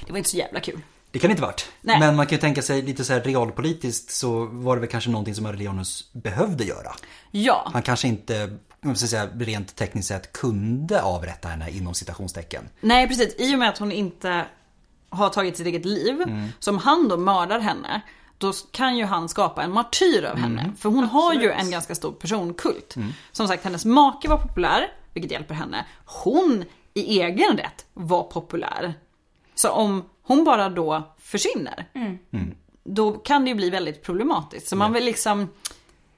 det var inte så jävla kul. Det kan det inte varit. Nej. Men man kan ju tänka sig lite så här realpolitiskt så var det väl kanske någonting som Aurelianus behövde göra. Ja, Han kanske inte, om ska säga, rent tekniskt sett kunde avrätta henne inom citationstecken. nej precis. I och med att hon inte har tagit sitt eget liv. Så om han då mördar henne. Då kan ju han skapa en martyr av henne. För hon har ju en ganska stor personkult. Som sagt, hennes make var populär, vilket hjälper henne. Hon i egen rätt var populär. Så om hon bara då försvinner. Mm. Då kan det ju bli väldigt problematiskt. Så man vill liksom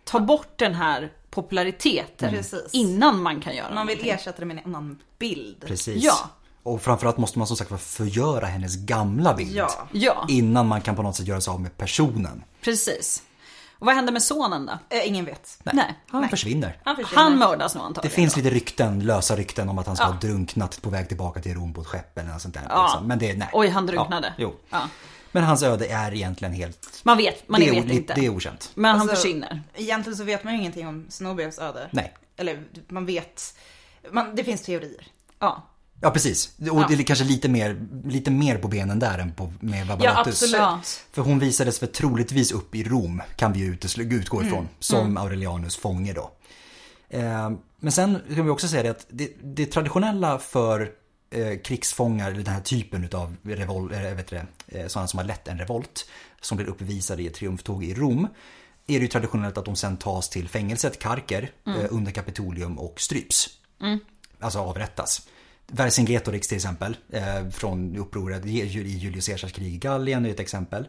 ta bort den här populariteten Precis. innan man kan göra Man vill någonting. ersätta det med en annan bild. Precis. Ja. Och framförallt måste man som sagt vara förgöra hennes gamla bild. Ja. Ja, Innan man kan på något sätt göra sig av med personen. precis. Och vad händer med sonen då? Eh, ingen vet. Nej. Han försvinner. Han försvinner. Han mördas nog Det antagligen. finns lite rykten, lösa rykten om att han ska ha drunknat på väg tillbaka till Rom på ett skepp eller något sånt där. Liksom. Men det, nej. Oj, han drunknade. Ja, jo. Ja. Men hans öde är egentligen helt... Man vet, man det, är vet o- inte. det är okänt. Men han Alltså, försvinner. Egentligen så vet man ju ingenting om Zenobias öde. Nej. Eller man vet. Man, det finns teorier. Ja. Ja, precis. Och det är kanske lite mer, lite mer på benen där än på, med Babalatus. Ja. För hon visades för troligtvis upp i Rom, kan vi ju utesl- utgå ifrån, som Aurelianus fånge då. Eh, men sen kan vi också säga det att det, det traditionella för eh, krigsfångar, eller den här typen av revol- eh, vet du det, eh, sådana som har lett en revolt, som blir uppvisade i ett triumftåg i Rom, är det ju traditionellt att de sen tas till fängelset, Karker, eh, under Kapitolium och stryps alltså avrättas. Vercingetorix till exempel, eh, från upproret i i Julius Caesars krig i Gallien är ett exempel.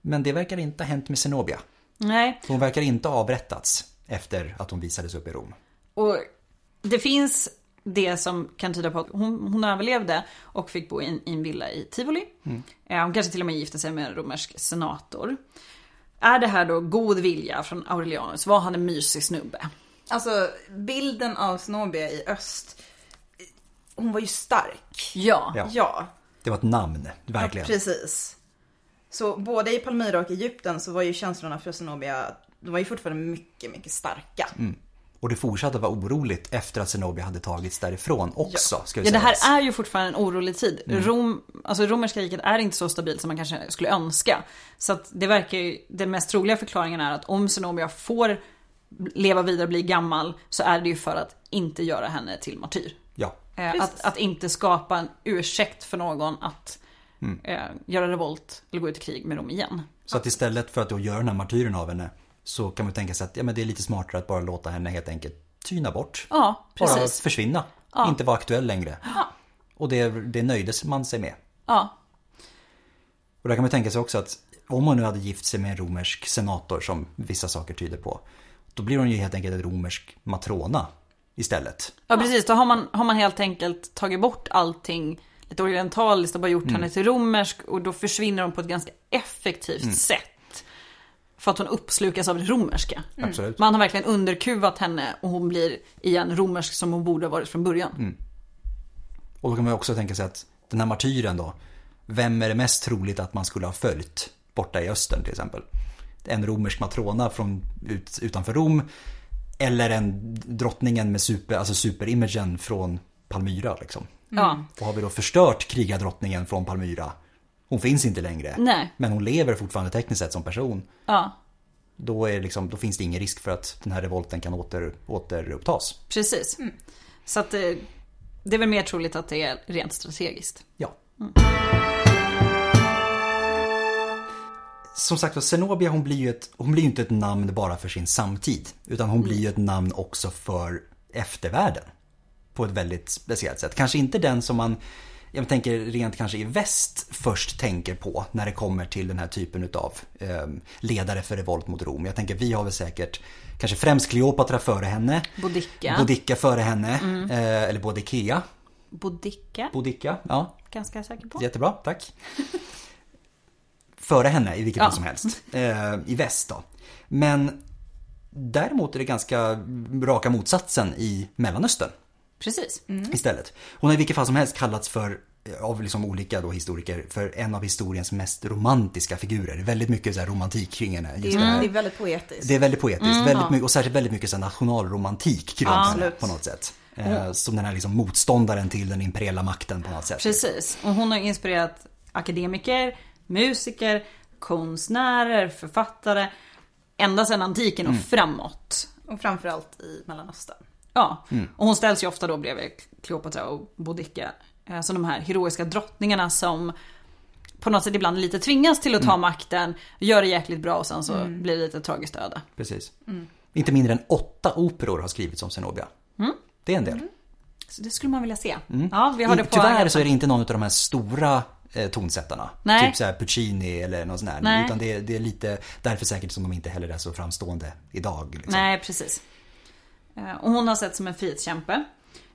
Men det verkar inte ha hänt med Zenobia. Nej. Hon verkar inte ha avrättats efter att hon visades upp i Rom. Och det finns det som kan tyda på att hon, hon överlevde och fick bo i en, i en villa i Tivoli. Mm. Eh, Hon kanske till och med gifte sig med en romersk senator. Är det här då god vilja från Aurelianus? Var han en mysig snubbe? Alltså bilden av Zenobia i öst. Hon var ju stark. Ja. Ja. Ja, Det var ett namn, verkligen. precis. Så både i Palmyra och Egypten så var ju känslorna för Zenobia, de var ju fortfarande mycket, mycket starka. och det fortsatte vara oroligt efter att Zenobia hade tagits därifrån också. Ska vi Ja, det säga. Mm. här är ju fortfarande en orolig tid. Rom, alltså romerska riket är inte så stabilt som man kanske skulle önska. Så att det verkar ju, den mest troliga förklaringen är att om Zenobia får leva vidare och bli gammal så är det ju för att inte göra henne till martyr. Ja. Eh, Precis. Att, att inte skapa en ursäkt för någon att Mm. eh, göra revolt eller gå ut i krig med Rom igen. Så att istället för att då göra den här martyren av henne så kan man tänka sig att ja, men det är lite smartare att bara låta henne helt enkelt tyna bort. Ja, bara precis. försvinna. Inte vara aktuell längre. Och det, det nöjdes man sig med. Ja, Och där kan man tänka sig också att om hon nu hade gift sig med en romersk senator som vissa saker tyder på. Då blir hon ju helt enkelt en romersk matrona istället. ja precis. Då har man, har man helt enkelt tagit bort allting lite orientaliskt och bara Mm. gjort henne till romersk och då försvinner hon på ett ganska effektivt Mm. sätt. För att hon uppslukas av det romerska. Mm. Absolut. Man har verkligen underkuvat henne och hon blir igen romersk som hon borde ha varit från början. Mm. Och då kan man ju också tänka sig att den här martyren då. Vem är det mest troligt att man skulle ha följt borta i östern till exempel? En romersk matrona från ut, utanför Rom. Eller en drottningen med super, alltså superimagen från Palmyra liksom. Ja, Och har vi då förstört krigadrottningen från Palmyra. Hon finns inte längre. Nej. Men hon lever fortfarande tekniskt sett som person. ja, Då, är det liksom, då finns det ingen risk för att den här revolten kan åter, återupptas. precis. Mm. Så att det, det är väl mer troligt att det är rent strategiskt. Ja. Som sagt var, Zenobia hon blir, ju ett, hon blir ju inte ett namn bara för sin samtid. Utan hon blir ju ett namn också för eftervärlden. På ett väldigt speciellt sätt. Kanske inte den som man, jag tänker rent kanske i väst först tänker på när det kommer till den här typen utav eh, ledare för revolt mot Rom. Jag tänker vi har väl säkert kanske främst Kleopatra före henne. Boudicca. Boudicca före henne. Eh, eller Boudicca. Boudicca, Boudicca, ja. ganska säker på. Jättebra, tack. Före henne i vilket Ja. fall som helst. Eh, I väst då. Men däremot är det ganska raka motsatsen i Mellanöstern Precis. Mm. istället. Hon har i vilket fall som helst kallats för eh, av liksom olika då historiker för en av historiens mest romantiska figurer. Det är väldigt mycket så här romantik kring henne. Det Just är, det här. det är väldigt poetiskt. Det är väldigt poetiskt väldigt mycket, och särskilt väldigt mycket så här nationalromantik kring henne absolut. Mm. på något sätt. Eh, Som den här liksom motståndaren till den imperiella makten på något sätt. Precis. Och hon har inspirerat akademiker, musiker, konstnärer, författare. Ända sedan antiken och framåt. Och framförallt i Mellanöstern. Ja, och hon ställs ju ofta då bredvid Kleopatra och Boudicca. eh, Som de här heroiska drottningarna som på något sätt ibland lite tvingas till att ta makten, gör det jäkligt bra och sen så blir det lite tragiskt öde. Precis. Mm. Inte mindre än åtta operor har skrivits om Zenobia. Mm. Det är en del. Så det skulle man vilja se. Ja, vi har det på Mm, Tyvärr så är det inte någon av de här stora eh, tonsättarna. Nej. Typ så här Puccini eller någon sån här. Nej. Utan det, är- det är lite därför säkert som de inte heller är så framstående idag. Liksom. Nej, precis. Eh, Och hon har sett som en frihetskämpe.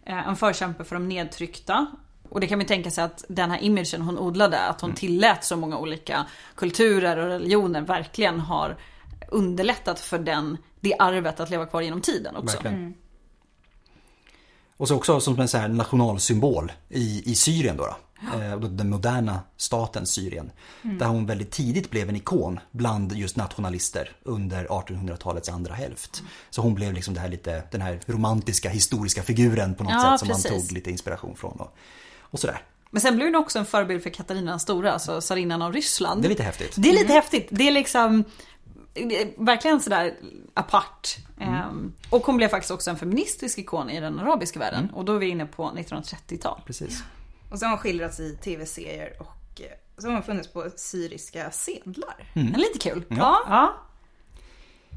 eh, En förkämpe för de nedtryckta. Och det kan man ju tänka sig att den här imagen hon odlade, att Mm. hon tillät så många olika kulturer och religioner verkligen har underlättat för den, det arvet att leva kvar genom tiden också. Verkligen. Och så också som en så här nationalsymbol i, i Syrien då. då. Eh, och då Den moderna staten Syrien. Mm. Där hon väldigt tidigt blev en ikon bland just nationalister under 1800-talets andra hälft. Mm. Så hon blev liksom det här lite, den här romantiska historiska figuren på något Ja, sätt som man precis. tog lite inspiration från. Och, och sådär. Men sen blev hon också en förebild för Katarina den stora, alltså tsarinnan av Ryssland. Det är lite häftigt. Mm. Det är lite häftigt. Det är liksom det är verkligen sådär apart. Mm. Ehm, och hon blev faktiskt också en feministisk ikon i den arabiska världen. Mm. Och då är vi inne på 1930-tal. Precis. Och så har hon skildrats i tv-serier och eh, så har hon funnits på syriska sedlar. Men lite kul. Mm. Ja. ja.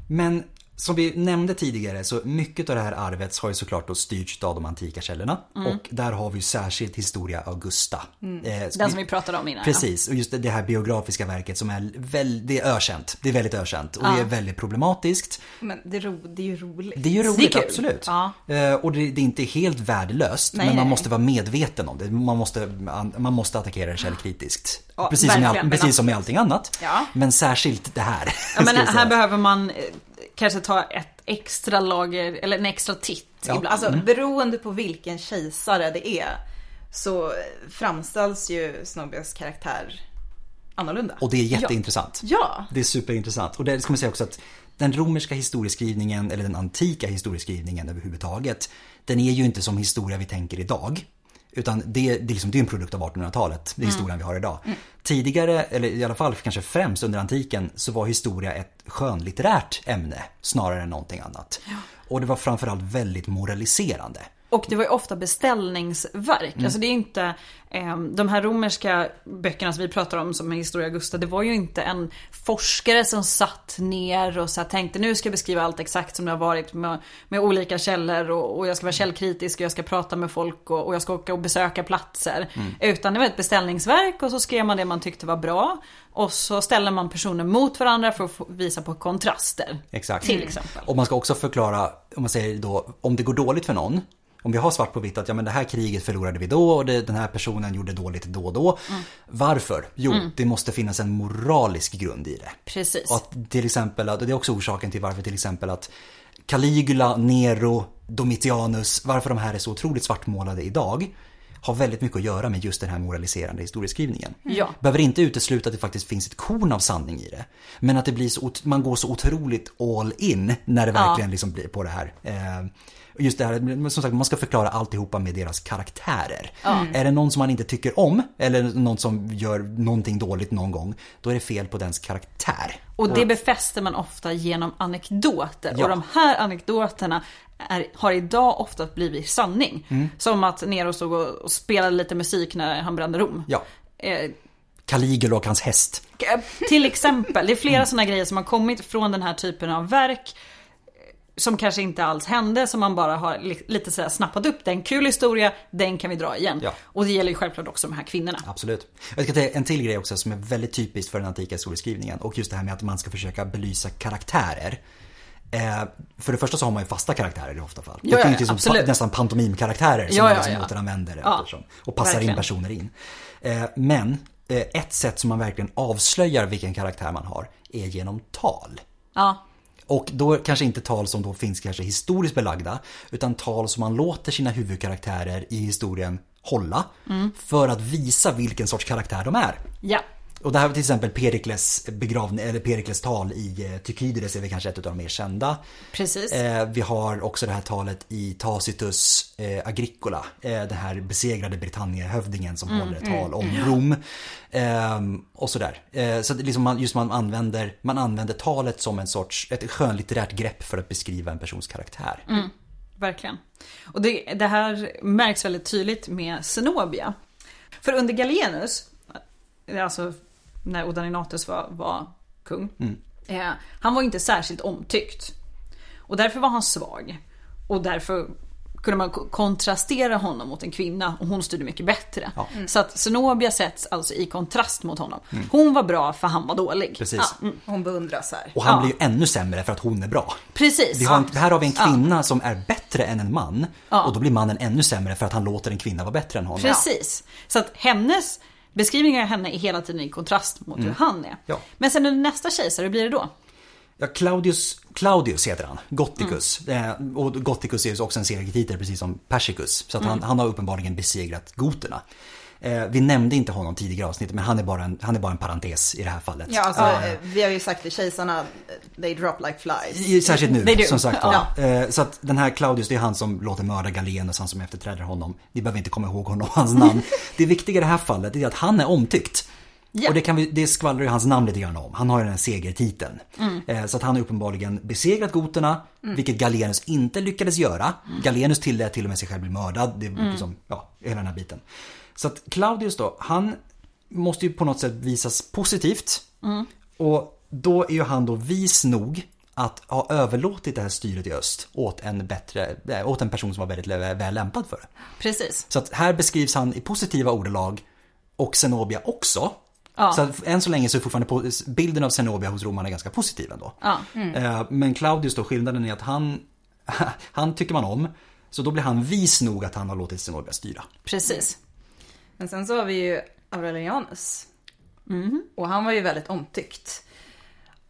Men som vi nämnde tidigare så mycket av det här arvet har ju såklart då styrts av de antika källorna. Och där har vi ju särskilt Historia Augusta. Eh, Mm. Den som vi pratade om innan. Precis, och just det- det här biografiska verket som är, väl, det är ökänt. Det är väldigt ökänt och det är väldigt problematiskt. Men det, ro, det är ju roligt. Det är ju roligt, kul. absolut. Ja. Eh, Och det, det är inte helt värdelöst, Nej, men man nej. måste vara medveten om det. Man måste, man måste attackera det källkritiskt. Ja, precis som, i all, verkligen, men precis som i allting annat. Ja. Men särskilt det här. Ja, men skulle jag här säga. behöver man eh, kanske ta ett extra lager, eller en extra titt Ja. Mm. ibland. Alltså beroende på vilken kejsare det är så framställs ju Snobbias karaktär annorlunda. och det är jätteintressant. Ja, Det är superintressant. Och det ska man säga också att den romerska historieskrivningen, eller den antika historieskrivningen överhuvudtaget, den är ju inte som historia vi tänker idag. Utan det, det, är liksom, det är en produkt av 1800-talet, det är historien vi har idag. Tidigare, eller i alla fall kanske främst under antiken, så var historia ett skönlitterärt ämne snarare än någonting annat. Och det var framförallt väldigt moraliserande. Och det var ju ofta beställningsverk. Mm. Alltså det är inte, eh, de här romerska böckerna som vi pratar om som är Historia Augusta, det var ju inte en forskare som satt ner och så här tänkte nu ska jag beskriva allt exakt som det har varit med, med olika källor och, och jag ska vara källkritisk och jag ska prata med folk och, och jag ska åka och besöka platser. Mm. Utan det var ett beställningsverk och så skrev man det man tyckte var bra. Och så ställer man personer mot varandra för att få- visa på kontraster. Exakt. Till exempel. Och man ska också förklara, om man säger då, om det går dåligt för någon. Om vi har svart på vitt att ja, men det här kriget förlorade vi då och det, den här personen gjorde dåligt då och då. Mm. Varför? Jo, det måste finnas en moralisk grund i det. Precis. Och att till exempel, att- och det är också orsaken till varför till exempel att Caligula, Nero, Domitianus, varför de här är så otroligt svartmålade idag har väldigt mycket att göra med just den här moraliserande historieskrivningen. Ja. Behöver inte utesluta att det faktiskt finns ett korn av sanning i det. Men att det blir så, ot- man går så otroligt all in när det verkligen liksom blir på det här. Eh, Just det här, men som sagt man ska förklara alltihopa med deras karaktärer. Är det någon som man inte tycker om eller någon som gör någonting dåligt någon gång, då är det fel på dens karaktär. Och det befäster man ofta genom anekdoter. Ja. Och de här anekdoterna är, har idag ofta blivit sanning. Mm. Som att Nero stod och, och spelade lite musik när han brände Rom. Ja, Eh, Caligula och hans häst. k- till exempel, det Mm. är flera sådana grejer som har kommit från den här typen av verk. eh, Som kanske inte alls hände, som man bara har li- lite sådär snappat upp. Det är en kul historia, den kan vi dra igen. Ja. Och det gäller ju självklart också de här kvinnorna. Absolut. Jag ska ta en till grej också som är väldigt typiskt för den antika historieskrivningen och just det här med att man ska försöka belysa karaktärer. Eh, för det första så har man ju fasta karaktärer i ofta fall. Ja, det ja, finns ju ja, som absolut. pa- nästan pantomimkaraktärer som Ja, man ja, liksom ja. återanvänder Ja, eftersom, och passar in verkligen. personer in. Eh, men eh, ett sätt som man verkligen avslöjar vilken karaktär man har är genom tal. Ja, Och då kanske inte tal som då finns kanske historiskt belagda, utan tal som man låter sina huvudkaraktärer i historien hålla för att visa vilken sorts karaktär de är. ja. Och det här var till exempel Perikles, begravning, eller Perikles tal i eh, Tykydides är väl kanske ett av de mer kända. Precis. Eh, vi har också det här talet i Tacitus eh, Agricola, eh, den här besegrade Britanniahövdingen som Mm, håller ett tal om Rom. Ehm, och sådär. Eh, så att liksom man, just man använder, man använder talet som en sorts, ett skönlitterärt grepp för att beskriva en persons karaktär. Mm, Verkligen. Och det, det här märks väldigt tydligt med Zenobia. För under Galenus, alltså när Odaninatus var, var kung, Mm. eh, han var ju inte särskilt omtyckt. Och därför var han svag. Och därför kunde man ko- kontrastera honom mot en kvinna och hon styrde mycket bättre. Ja. Mm. Så att Zenobia sätts alltså i kontrast mot honom. Hon var bra för han var dålig. Precis. Ja, mm, Hon beundras här. Och han Ja. blir ju ännu sämre för att hon är bra. precis. Vi har en, Ja. här har vi en kvinna som är bättre än en man Ja. och då blir mannen ännu sämre för att han låter en kvinna vara bättre än honom. Precis. Så att hennes beskrivning av henne är hela tiden i kontrast mot hur han är. Ja. Men sen under nästa kejsare, hur blir det då? Ja, Claudius, Claudius heter han, Gothicus. Eh, och Gothicus är ju också en segertitel precis som Persicus. Så att han, Mm. han har uppenbarligen besegrat goterna. Eh, vi nämnde inte honom tidigare i avsnittet men han är, bara en, han är bara en parentes i det här fallet. Ja, alltså, Eh, eh, vi har ju sagt det, kejsarna, eh, they drop like flies. i- Särskilt They nu, do. som sagt var. Eh, Så att den här Claudius, det är han som låter mörda Galenus, han som efterträder honom. Ni behöver inte komma ihåg honom och hans namn. Det viktiga i det här fallet är att han är omtyckt. Ja. Och det, kan vi, det skvallrar ju hans namn lite grann om. Han har ju den här segertiteln. Eh, Så att han har uppenbarligen besegrat goterna, vilket Galenus inte lyckades göra. Galenus tillät till och med sig själv bli mördad. Det är liksom, ja, hela den här biten. Så att Claudius då, han måste ju på något sätt visas positivt. Mm. Och då är ju han då vis nog att ha överlåtit det här styret i öst åt en, bättre, eh, åt en person som var väldigt lä- väl lämpad för det. Precis. Så att här beskrivs han i positiva ordalag och Zenobia också. Ja. Så att än så länge så är fortfarande po- bilden av Zenobia hos romarna ganska positiv ändå. Ja. Eh, Men Claudius då, skillnaden är att han, han tycker man om. Så då blir han vis nog att han har låtit Zenobia styra. Precis. Men sen så har vi ju Aurelianus. Och han var ju väldigt omtyckt.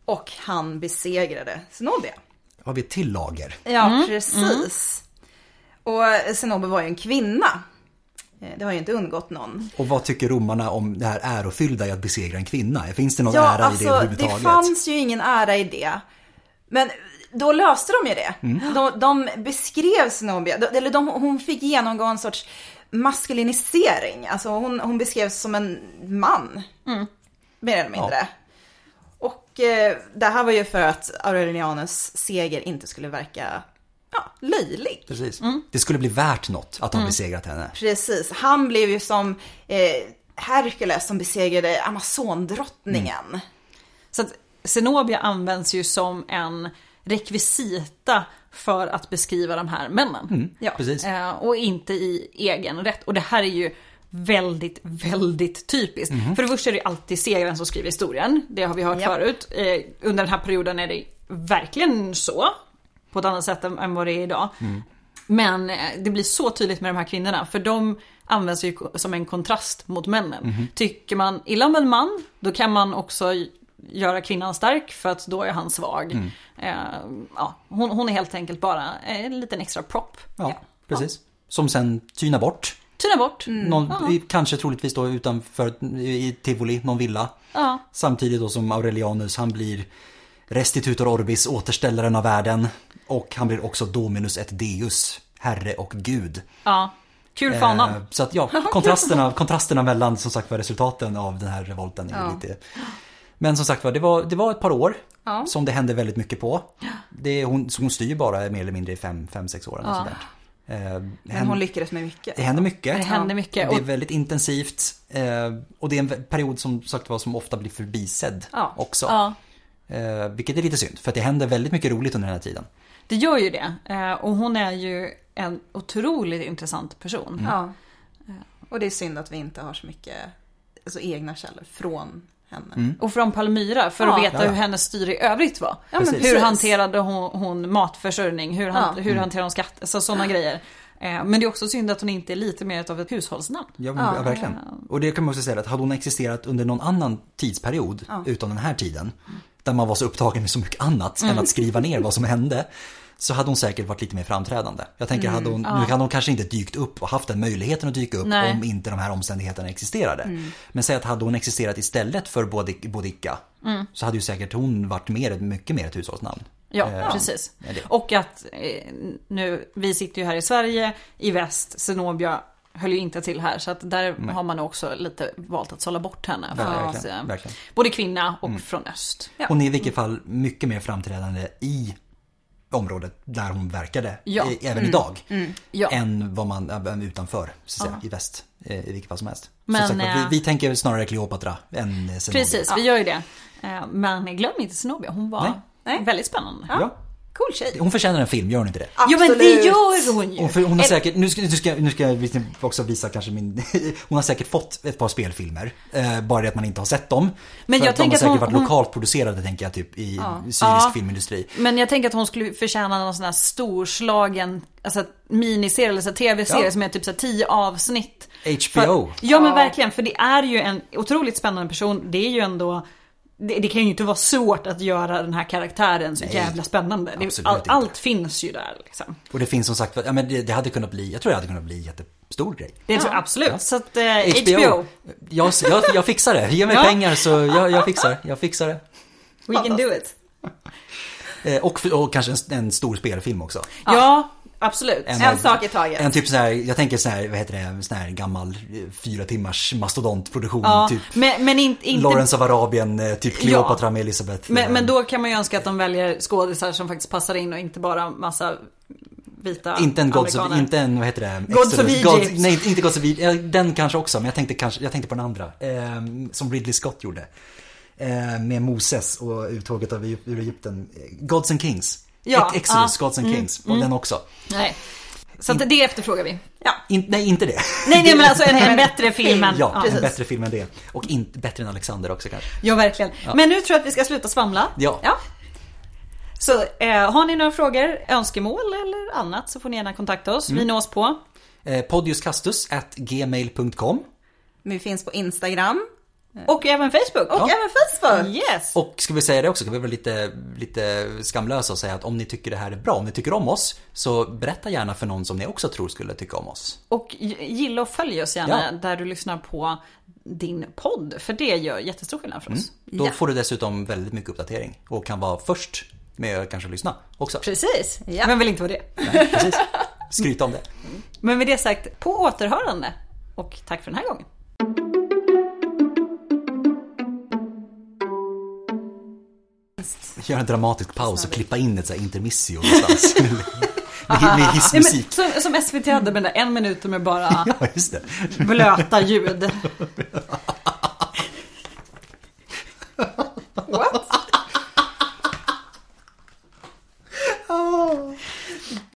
Och han besegrade Zenobia. Då har vi ett till lager. Ja, precis. Och Zenobia var ju en kvinna. Eh, Det har ju inte undgått någon. Och vad tycker romarna om det här ärofyllda i att besegra en kvinna? Finns det någon Ja, ära i det alltså det överhuvudtaget? fanns ju ingen ära i det. Men då löste de ju det. Mm. De, de beskrev Zenobia, de- eller de, hon fick genomgå en sorts maskulinisering. Alltså hon, hon beskrevs som en man. Mer eller mindre. Och eh, det här var ju för att Aurelianus seger inte skulle verka ja, löjlig. Precis. Det skulle bli värt något att ha besegrat henne. Precis, han blev ju som eh, Herkules som besegrade Amazondrottningen. Mm. Så att Zenobia används ju som en rekvisita för att beskriva de här männen. ja. precis. Eh, Och inte i egen rätt. Och det här är ju väldigt, väldigt typiskt. För det första är det ju alltid segraren som skriver historien. Det har vi hört Ja. förut. Eh, Under den här perioden är det verkligen så. På ett annat sätt än än vad det är idag. Men eh, det blir så tydligt med de här kvinnorna för de används ju ko- som en kontrast mot männen. Mhm. Tycker man illa om en man då kan man också g- göra kvinnan stark för att då är han svag. Mm. Eh, ja, hon, hon är helt enkelt bara eh, en liten extra prop. Ja, precis. Som sen tynar bort. Tyna bort. Någon, i- Kanske troligtvis då utanför i Tivoli, någon villa. Ja. Samtidigt då som Aurelianus, han blir restitutor orbis, återställaren av världen. Och han blir också Dominus et Deus, herre och gud. Ja. Kul för honom. Eh, Så att ja, kontrasterna, kontrasterna mellan som sagt var resultaten av den här revolten är lite... Men som sagt var, det var, det var ett par år som det hände väldigt mycket på. Det, hon, så hon styr ju bara mer eller mindre i fem, fem sex år. eller sådär. Eh, Men hon lyckades med mycket. det händer mycket. Det händer mycket. Det är Och- väldigt intensivt. eh, Och det är en vä- period som sagt var som ofta blir förbisedd Ja. också. Ja. Eh, Vilket är lite synd, för att det händer väldigt mycket roligt under den här tiden. Det gör ju det. Eh, Och hon är ju en otroligt intressant person. Mm. Ja. Eh, Och det är synd att vi inte har så mycket alltså, egna källor från henne. Och från Palmyra för att Ja. veta Ja, ja. hur hennes styre i övrigt var. Ja, men Precis. Mm. Hur precis. hanterade hon, hon matförsörjning? Hur, han, Ja. hur hanterade hon skatt? Så, sådana grejer. Eh, men det är också synd att hon inte är lite mer av ett hushållsnamn. Ja, men, ja, verkligen. Och det kan man också säga att hade hon existerat under någon annan tidsperiod utan den här tiden, där man var så upptagen med så mycket annat Mm. än att skriva ner vad som hände, så hade hon säkert varit lite mer framträdande. Jag tänker, hade hon, nu hade hon kanske inte dykt upp och haft den möjligheten att dyka upp Mm. Nej. Mm. om inte de här omständigheterna existerade. Men säg att hade hon existerat istället för Bodic- Bodica, Mm. så hade ju säkert hon varit mer, mycket mer ett hushållsnamn. Ja, Eh, precis. ja, det- Och att eh, nu, vi sitter ju här i Sverige, i väst, Zenobia höll ju inte till här. Så att där har man också lite valt att sålla bort henne. för Verkligen, att, eh, verkligen. Mm. Både kvinna och från öst. Hon är i vilket fall mycket mer framträdande i området där hon verkade, Ja. Mm. eh, även idag. Ja. Än vad man, äh, utanför, så att säga, i väst. eh, I vilket fall som helst. Men, Men, som sagt, eh, vi, vi tänker snarare Kleopatra än eh, Zenobia. Precis, vi gör ju det. Eh, Men glöm inte Zenobia, hon var Nej. Nej. väldigt spännande. Ja. Cool tjej. Hon förtjänar en film, gör hon inte det? Jo men det Absolut. gör hon ju! Eh, Hon, för, hon har säkert, nu ska, nu, ska, nu ska jag också visa kanske min... Hon har säkert fått ett par spelfilmer. Eh, bara det att man inte har sett dem. Men för jag att de har tänker att säkert hon- varit hon- lokalt producerade tänker jag typ i syrisk Ja. filmindustri. Men jag tänker att hon skulle förtjäna någon sån här storslagen alltså, miniserie eller så här tv-serie Ja. som är typ så här, 10 avsnitt. HBO. För, ja men verkligen, för det är ju en otroligt spännande person. Det är ju ändå det, det kan ju inte vara svårt att göra den här karaktären så jävla spännande. Det, absolut all, inte. allt finns ju där liksom. Och det finns som sagt, ja, men det, det hade kunnat bli, jag tror det hade kunnat bli en jättestor grej. Det tror jag absolut. Så att eh, HBO. HBO. Jag, jag, jag fixar det. Ge mig Ja. pengar så jag, jag fixar Jag fixar det. We can do it. Eh, Och, och kanske en, en stor spelfilm också. Ja, absolut. En sak i taget. En typ så här, jag tänker så här, vad heter det, sån här gammal eh, fyra timmars mastodontproduktion. Ja, typ men, men inte, inte Lawrence av Arabien, eh, typ Cleopatra med Elisabeth. Men, eh, men då kan man ju önska att de väljer skådisar som faktiskt passar in och inte bara massa vita Inte en Gods of, amerikaner. inte en, vad heter det? Gods of Exodus- Egypt. nej, inte Gods of Egypt. Eh, Den kanske också, men jag tänkte, kanske, jag tänkte på den andra. Eh, som Ridley Scott gjorde. Eh, med Moses och uttåget av, Egyp- ur Egypten. Eh, Gods and Kings. Ja, Ex- Exodus, ja. Mm, Gods and Kings. Och den också. Nej. Så att det efterfrågar vi. Ja. In, nej, inte det. Nej, nej men alltså en, en bättre film än... ja, ja. en bättre film än det. Och in, bättre än Alexander också kanske. ja, verkligen. Men nu tror jag att vi ska sluta svamla. Ja. Så eh, har ni några frågor, önskemål eller annat så får ni gärna kontakta oss. Mm. Vi nås på. Eh, Podiuscastus at gmail.com. Men vi finns på Instagram Och även Facebook. och Och även Facebook. Eh. Yes! Och ska vi säga det också, ska vi vara lite, lite skamlösa och säga att om ni tycker det här är bra, om ni tycker om oss, så berätta gärna för någon som ni också tror skulle tycka om oss. Och g- gilla och följ oss gärna Ja. där du lyssnar på din podd. För det gör jättestor skillnad för oss. Då Ja. får du dessutom väldigt mycket uppdatering och kan vara först med att kanske lyssna också. Precis. Ja. Men vill inte vara det. Nej, precis. Skryta om det. Men med det sagt, på återhörande. Och tack för den här gången. Gör en dramatisk paus och klippa in ett så här intermissio någonstans. Med, med Nej, hissmusik. men, som, som SVT hade med den där en minuten med bara Ja, just det. blöta ljud.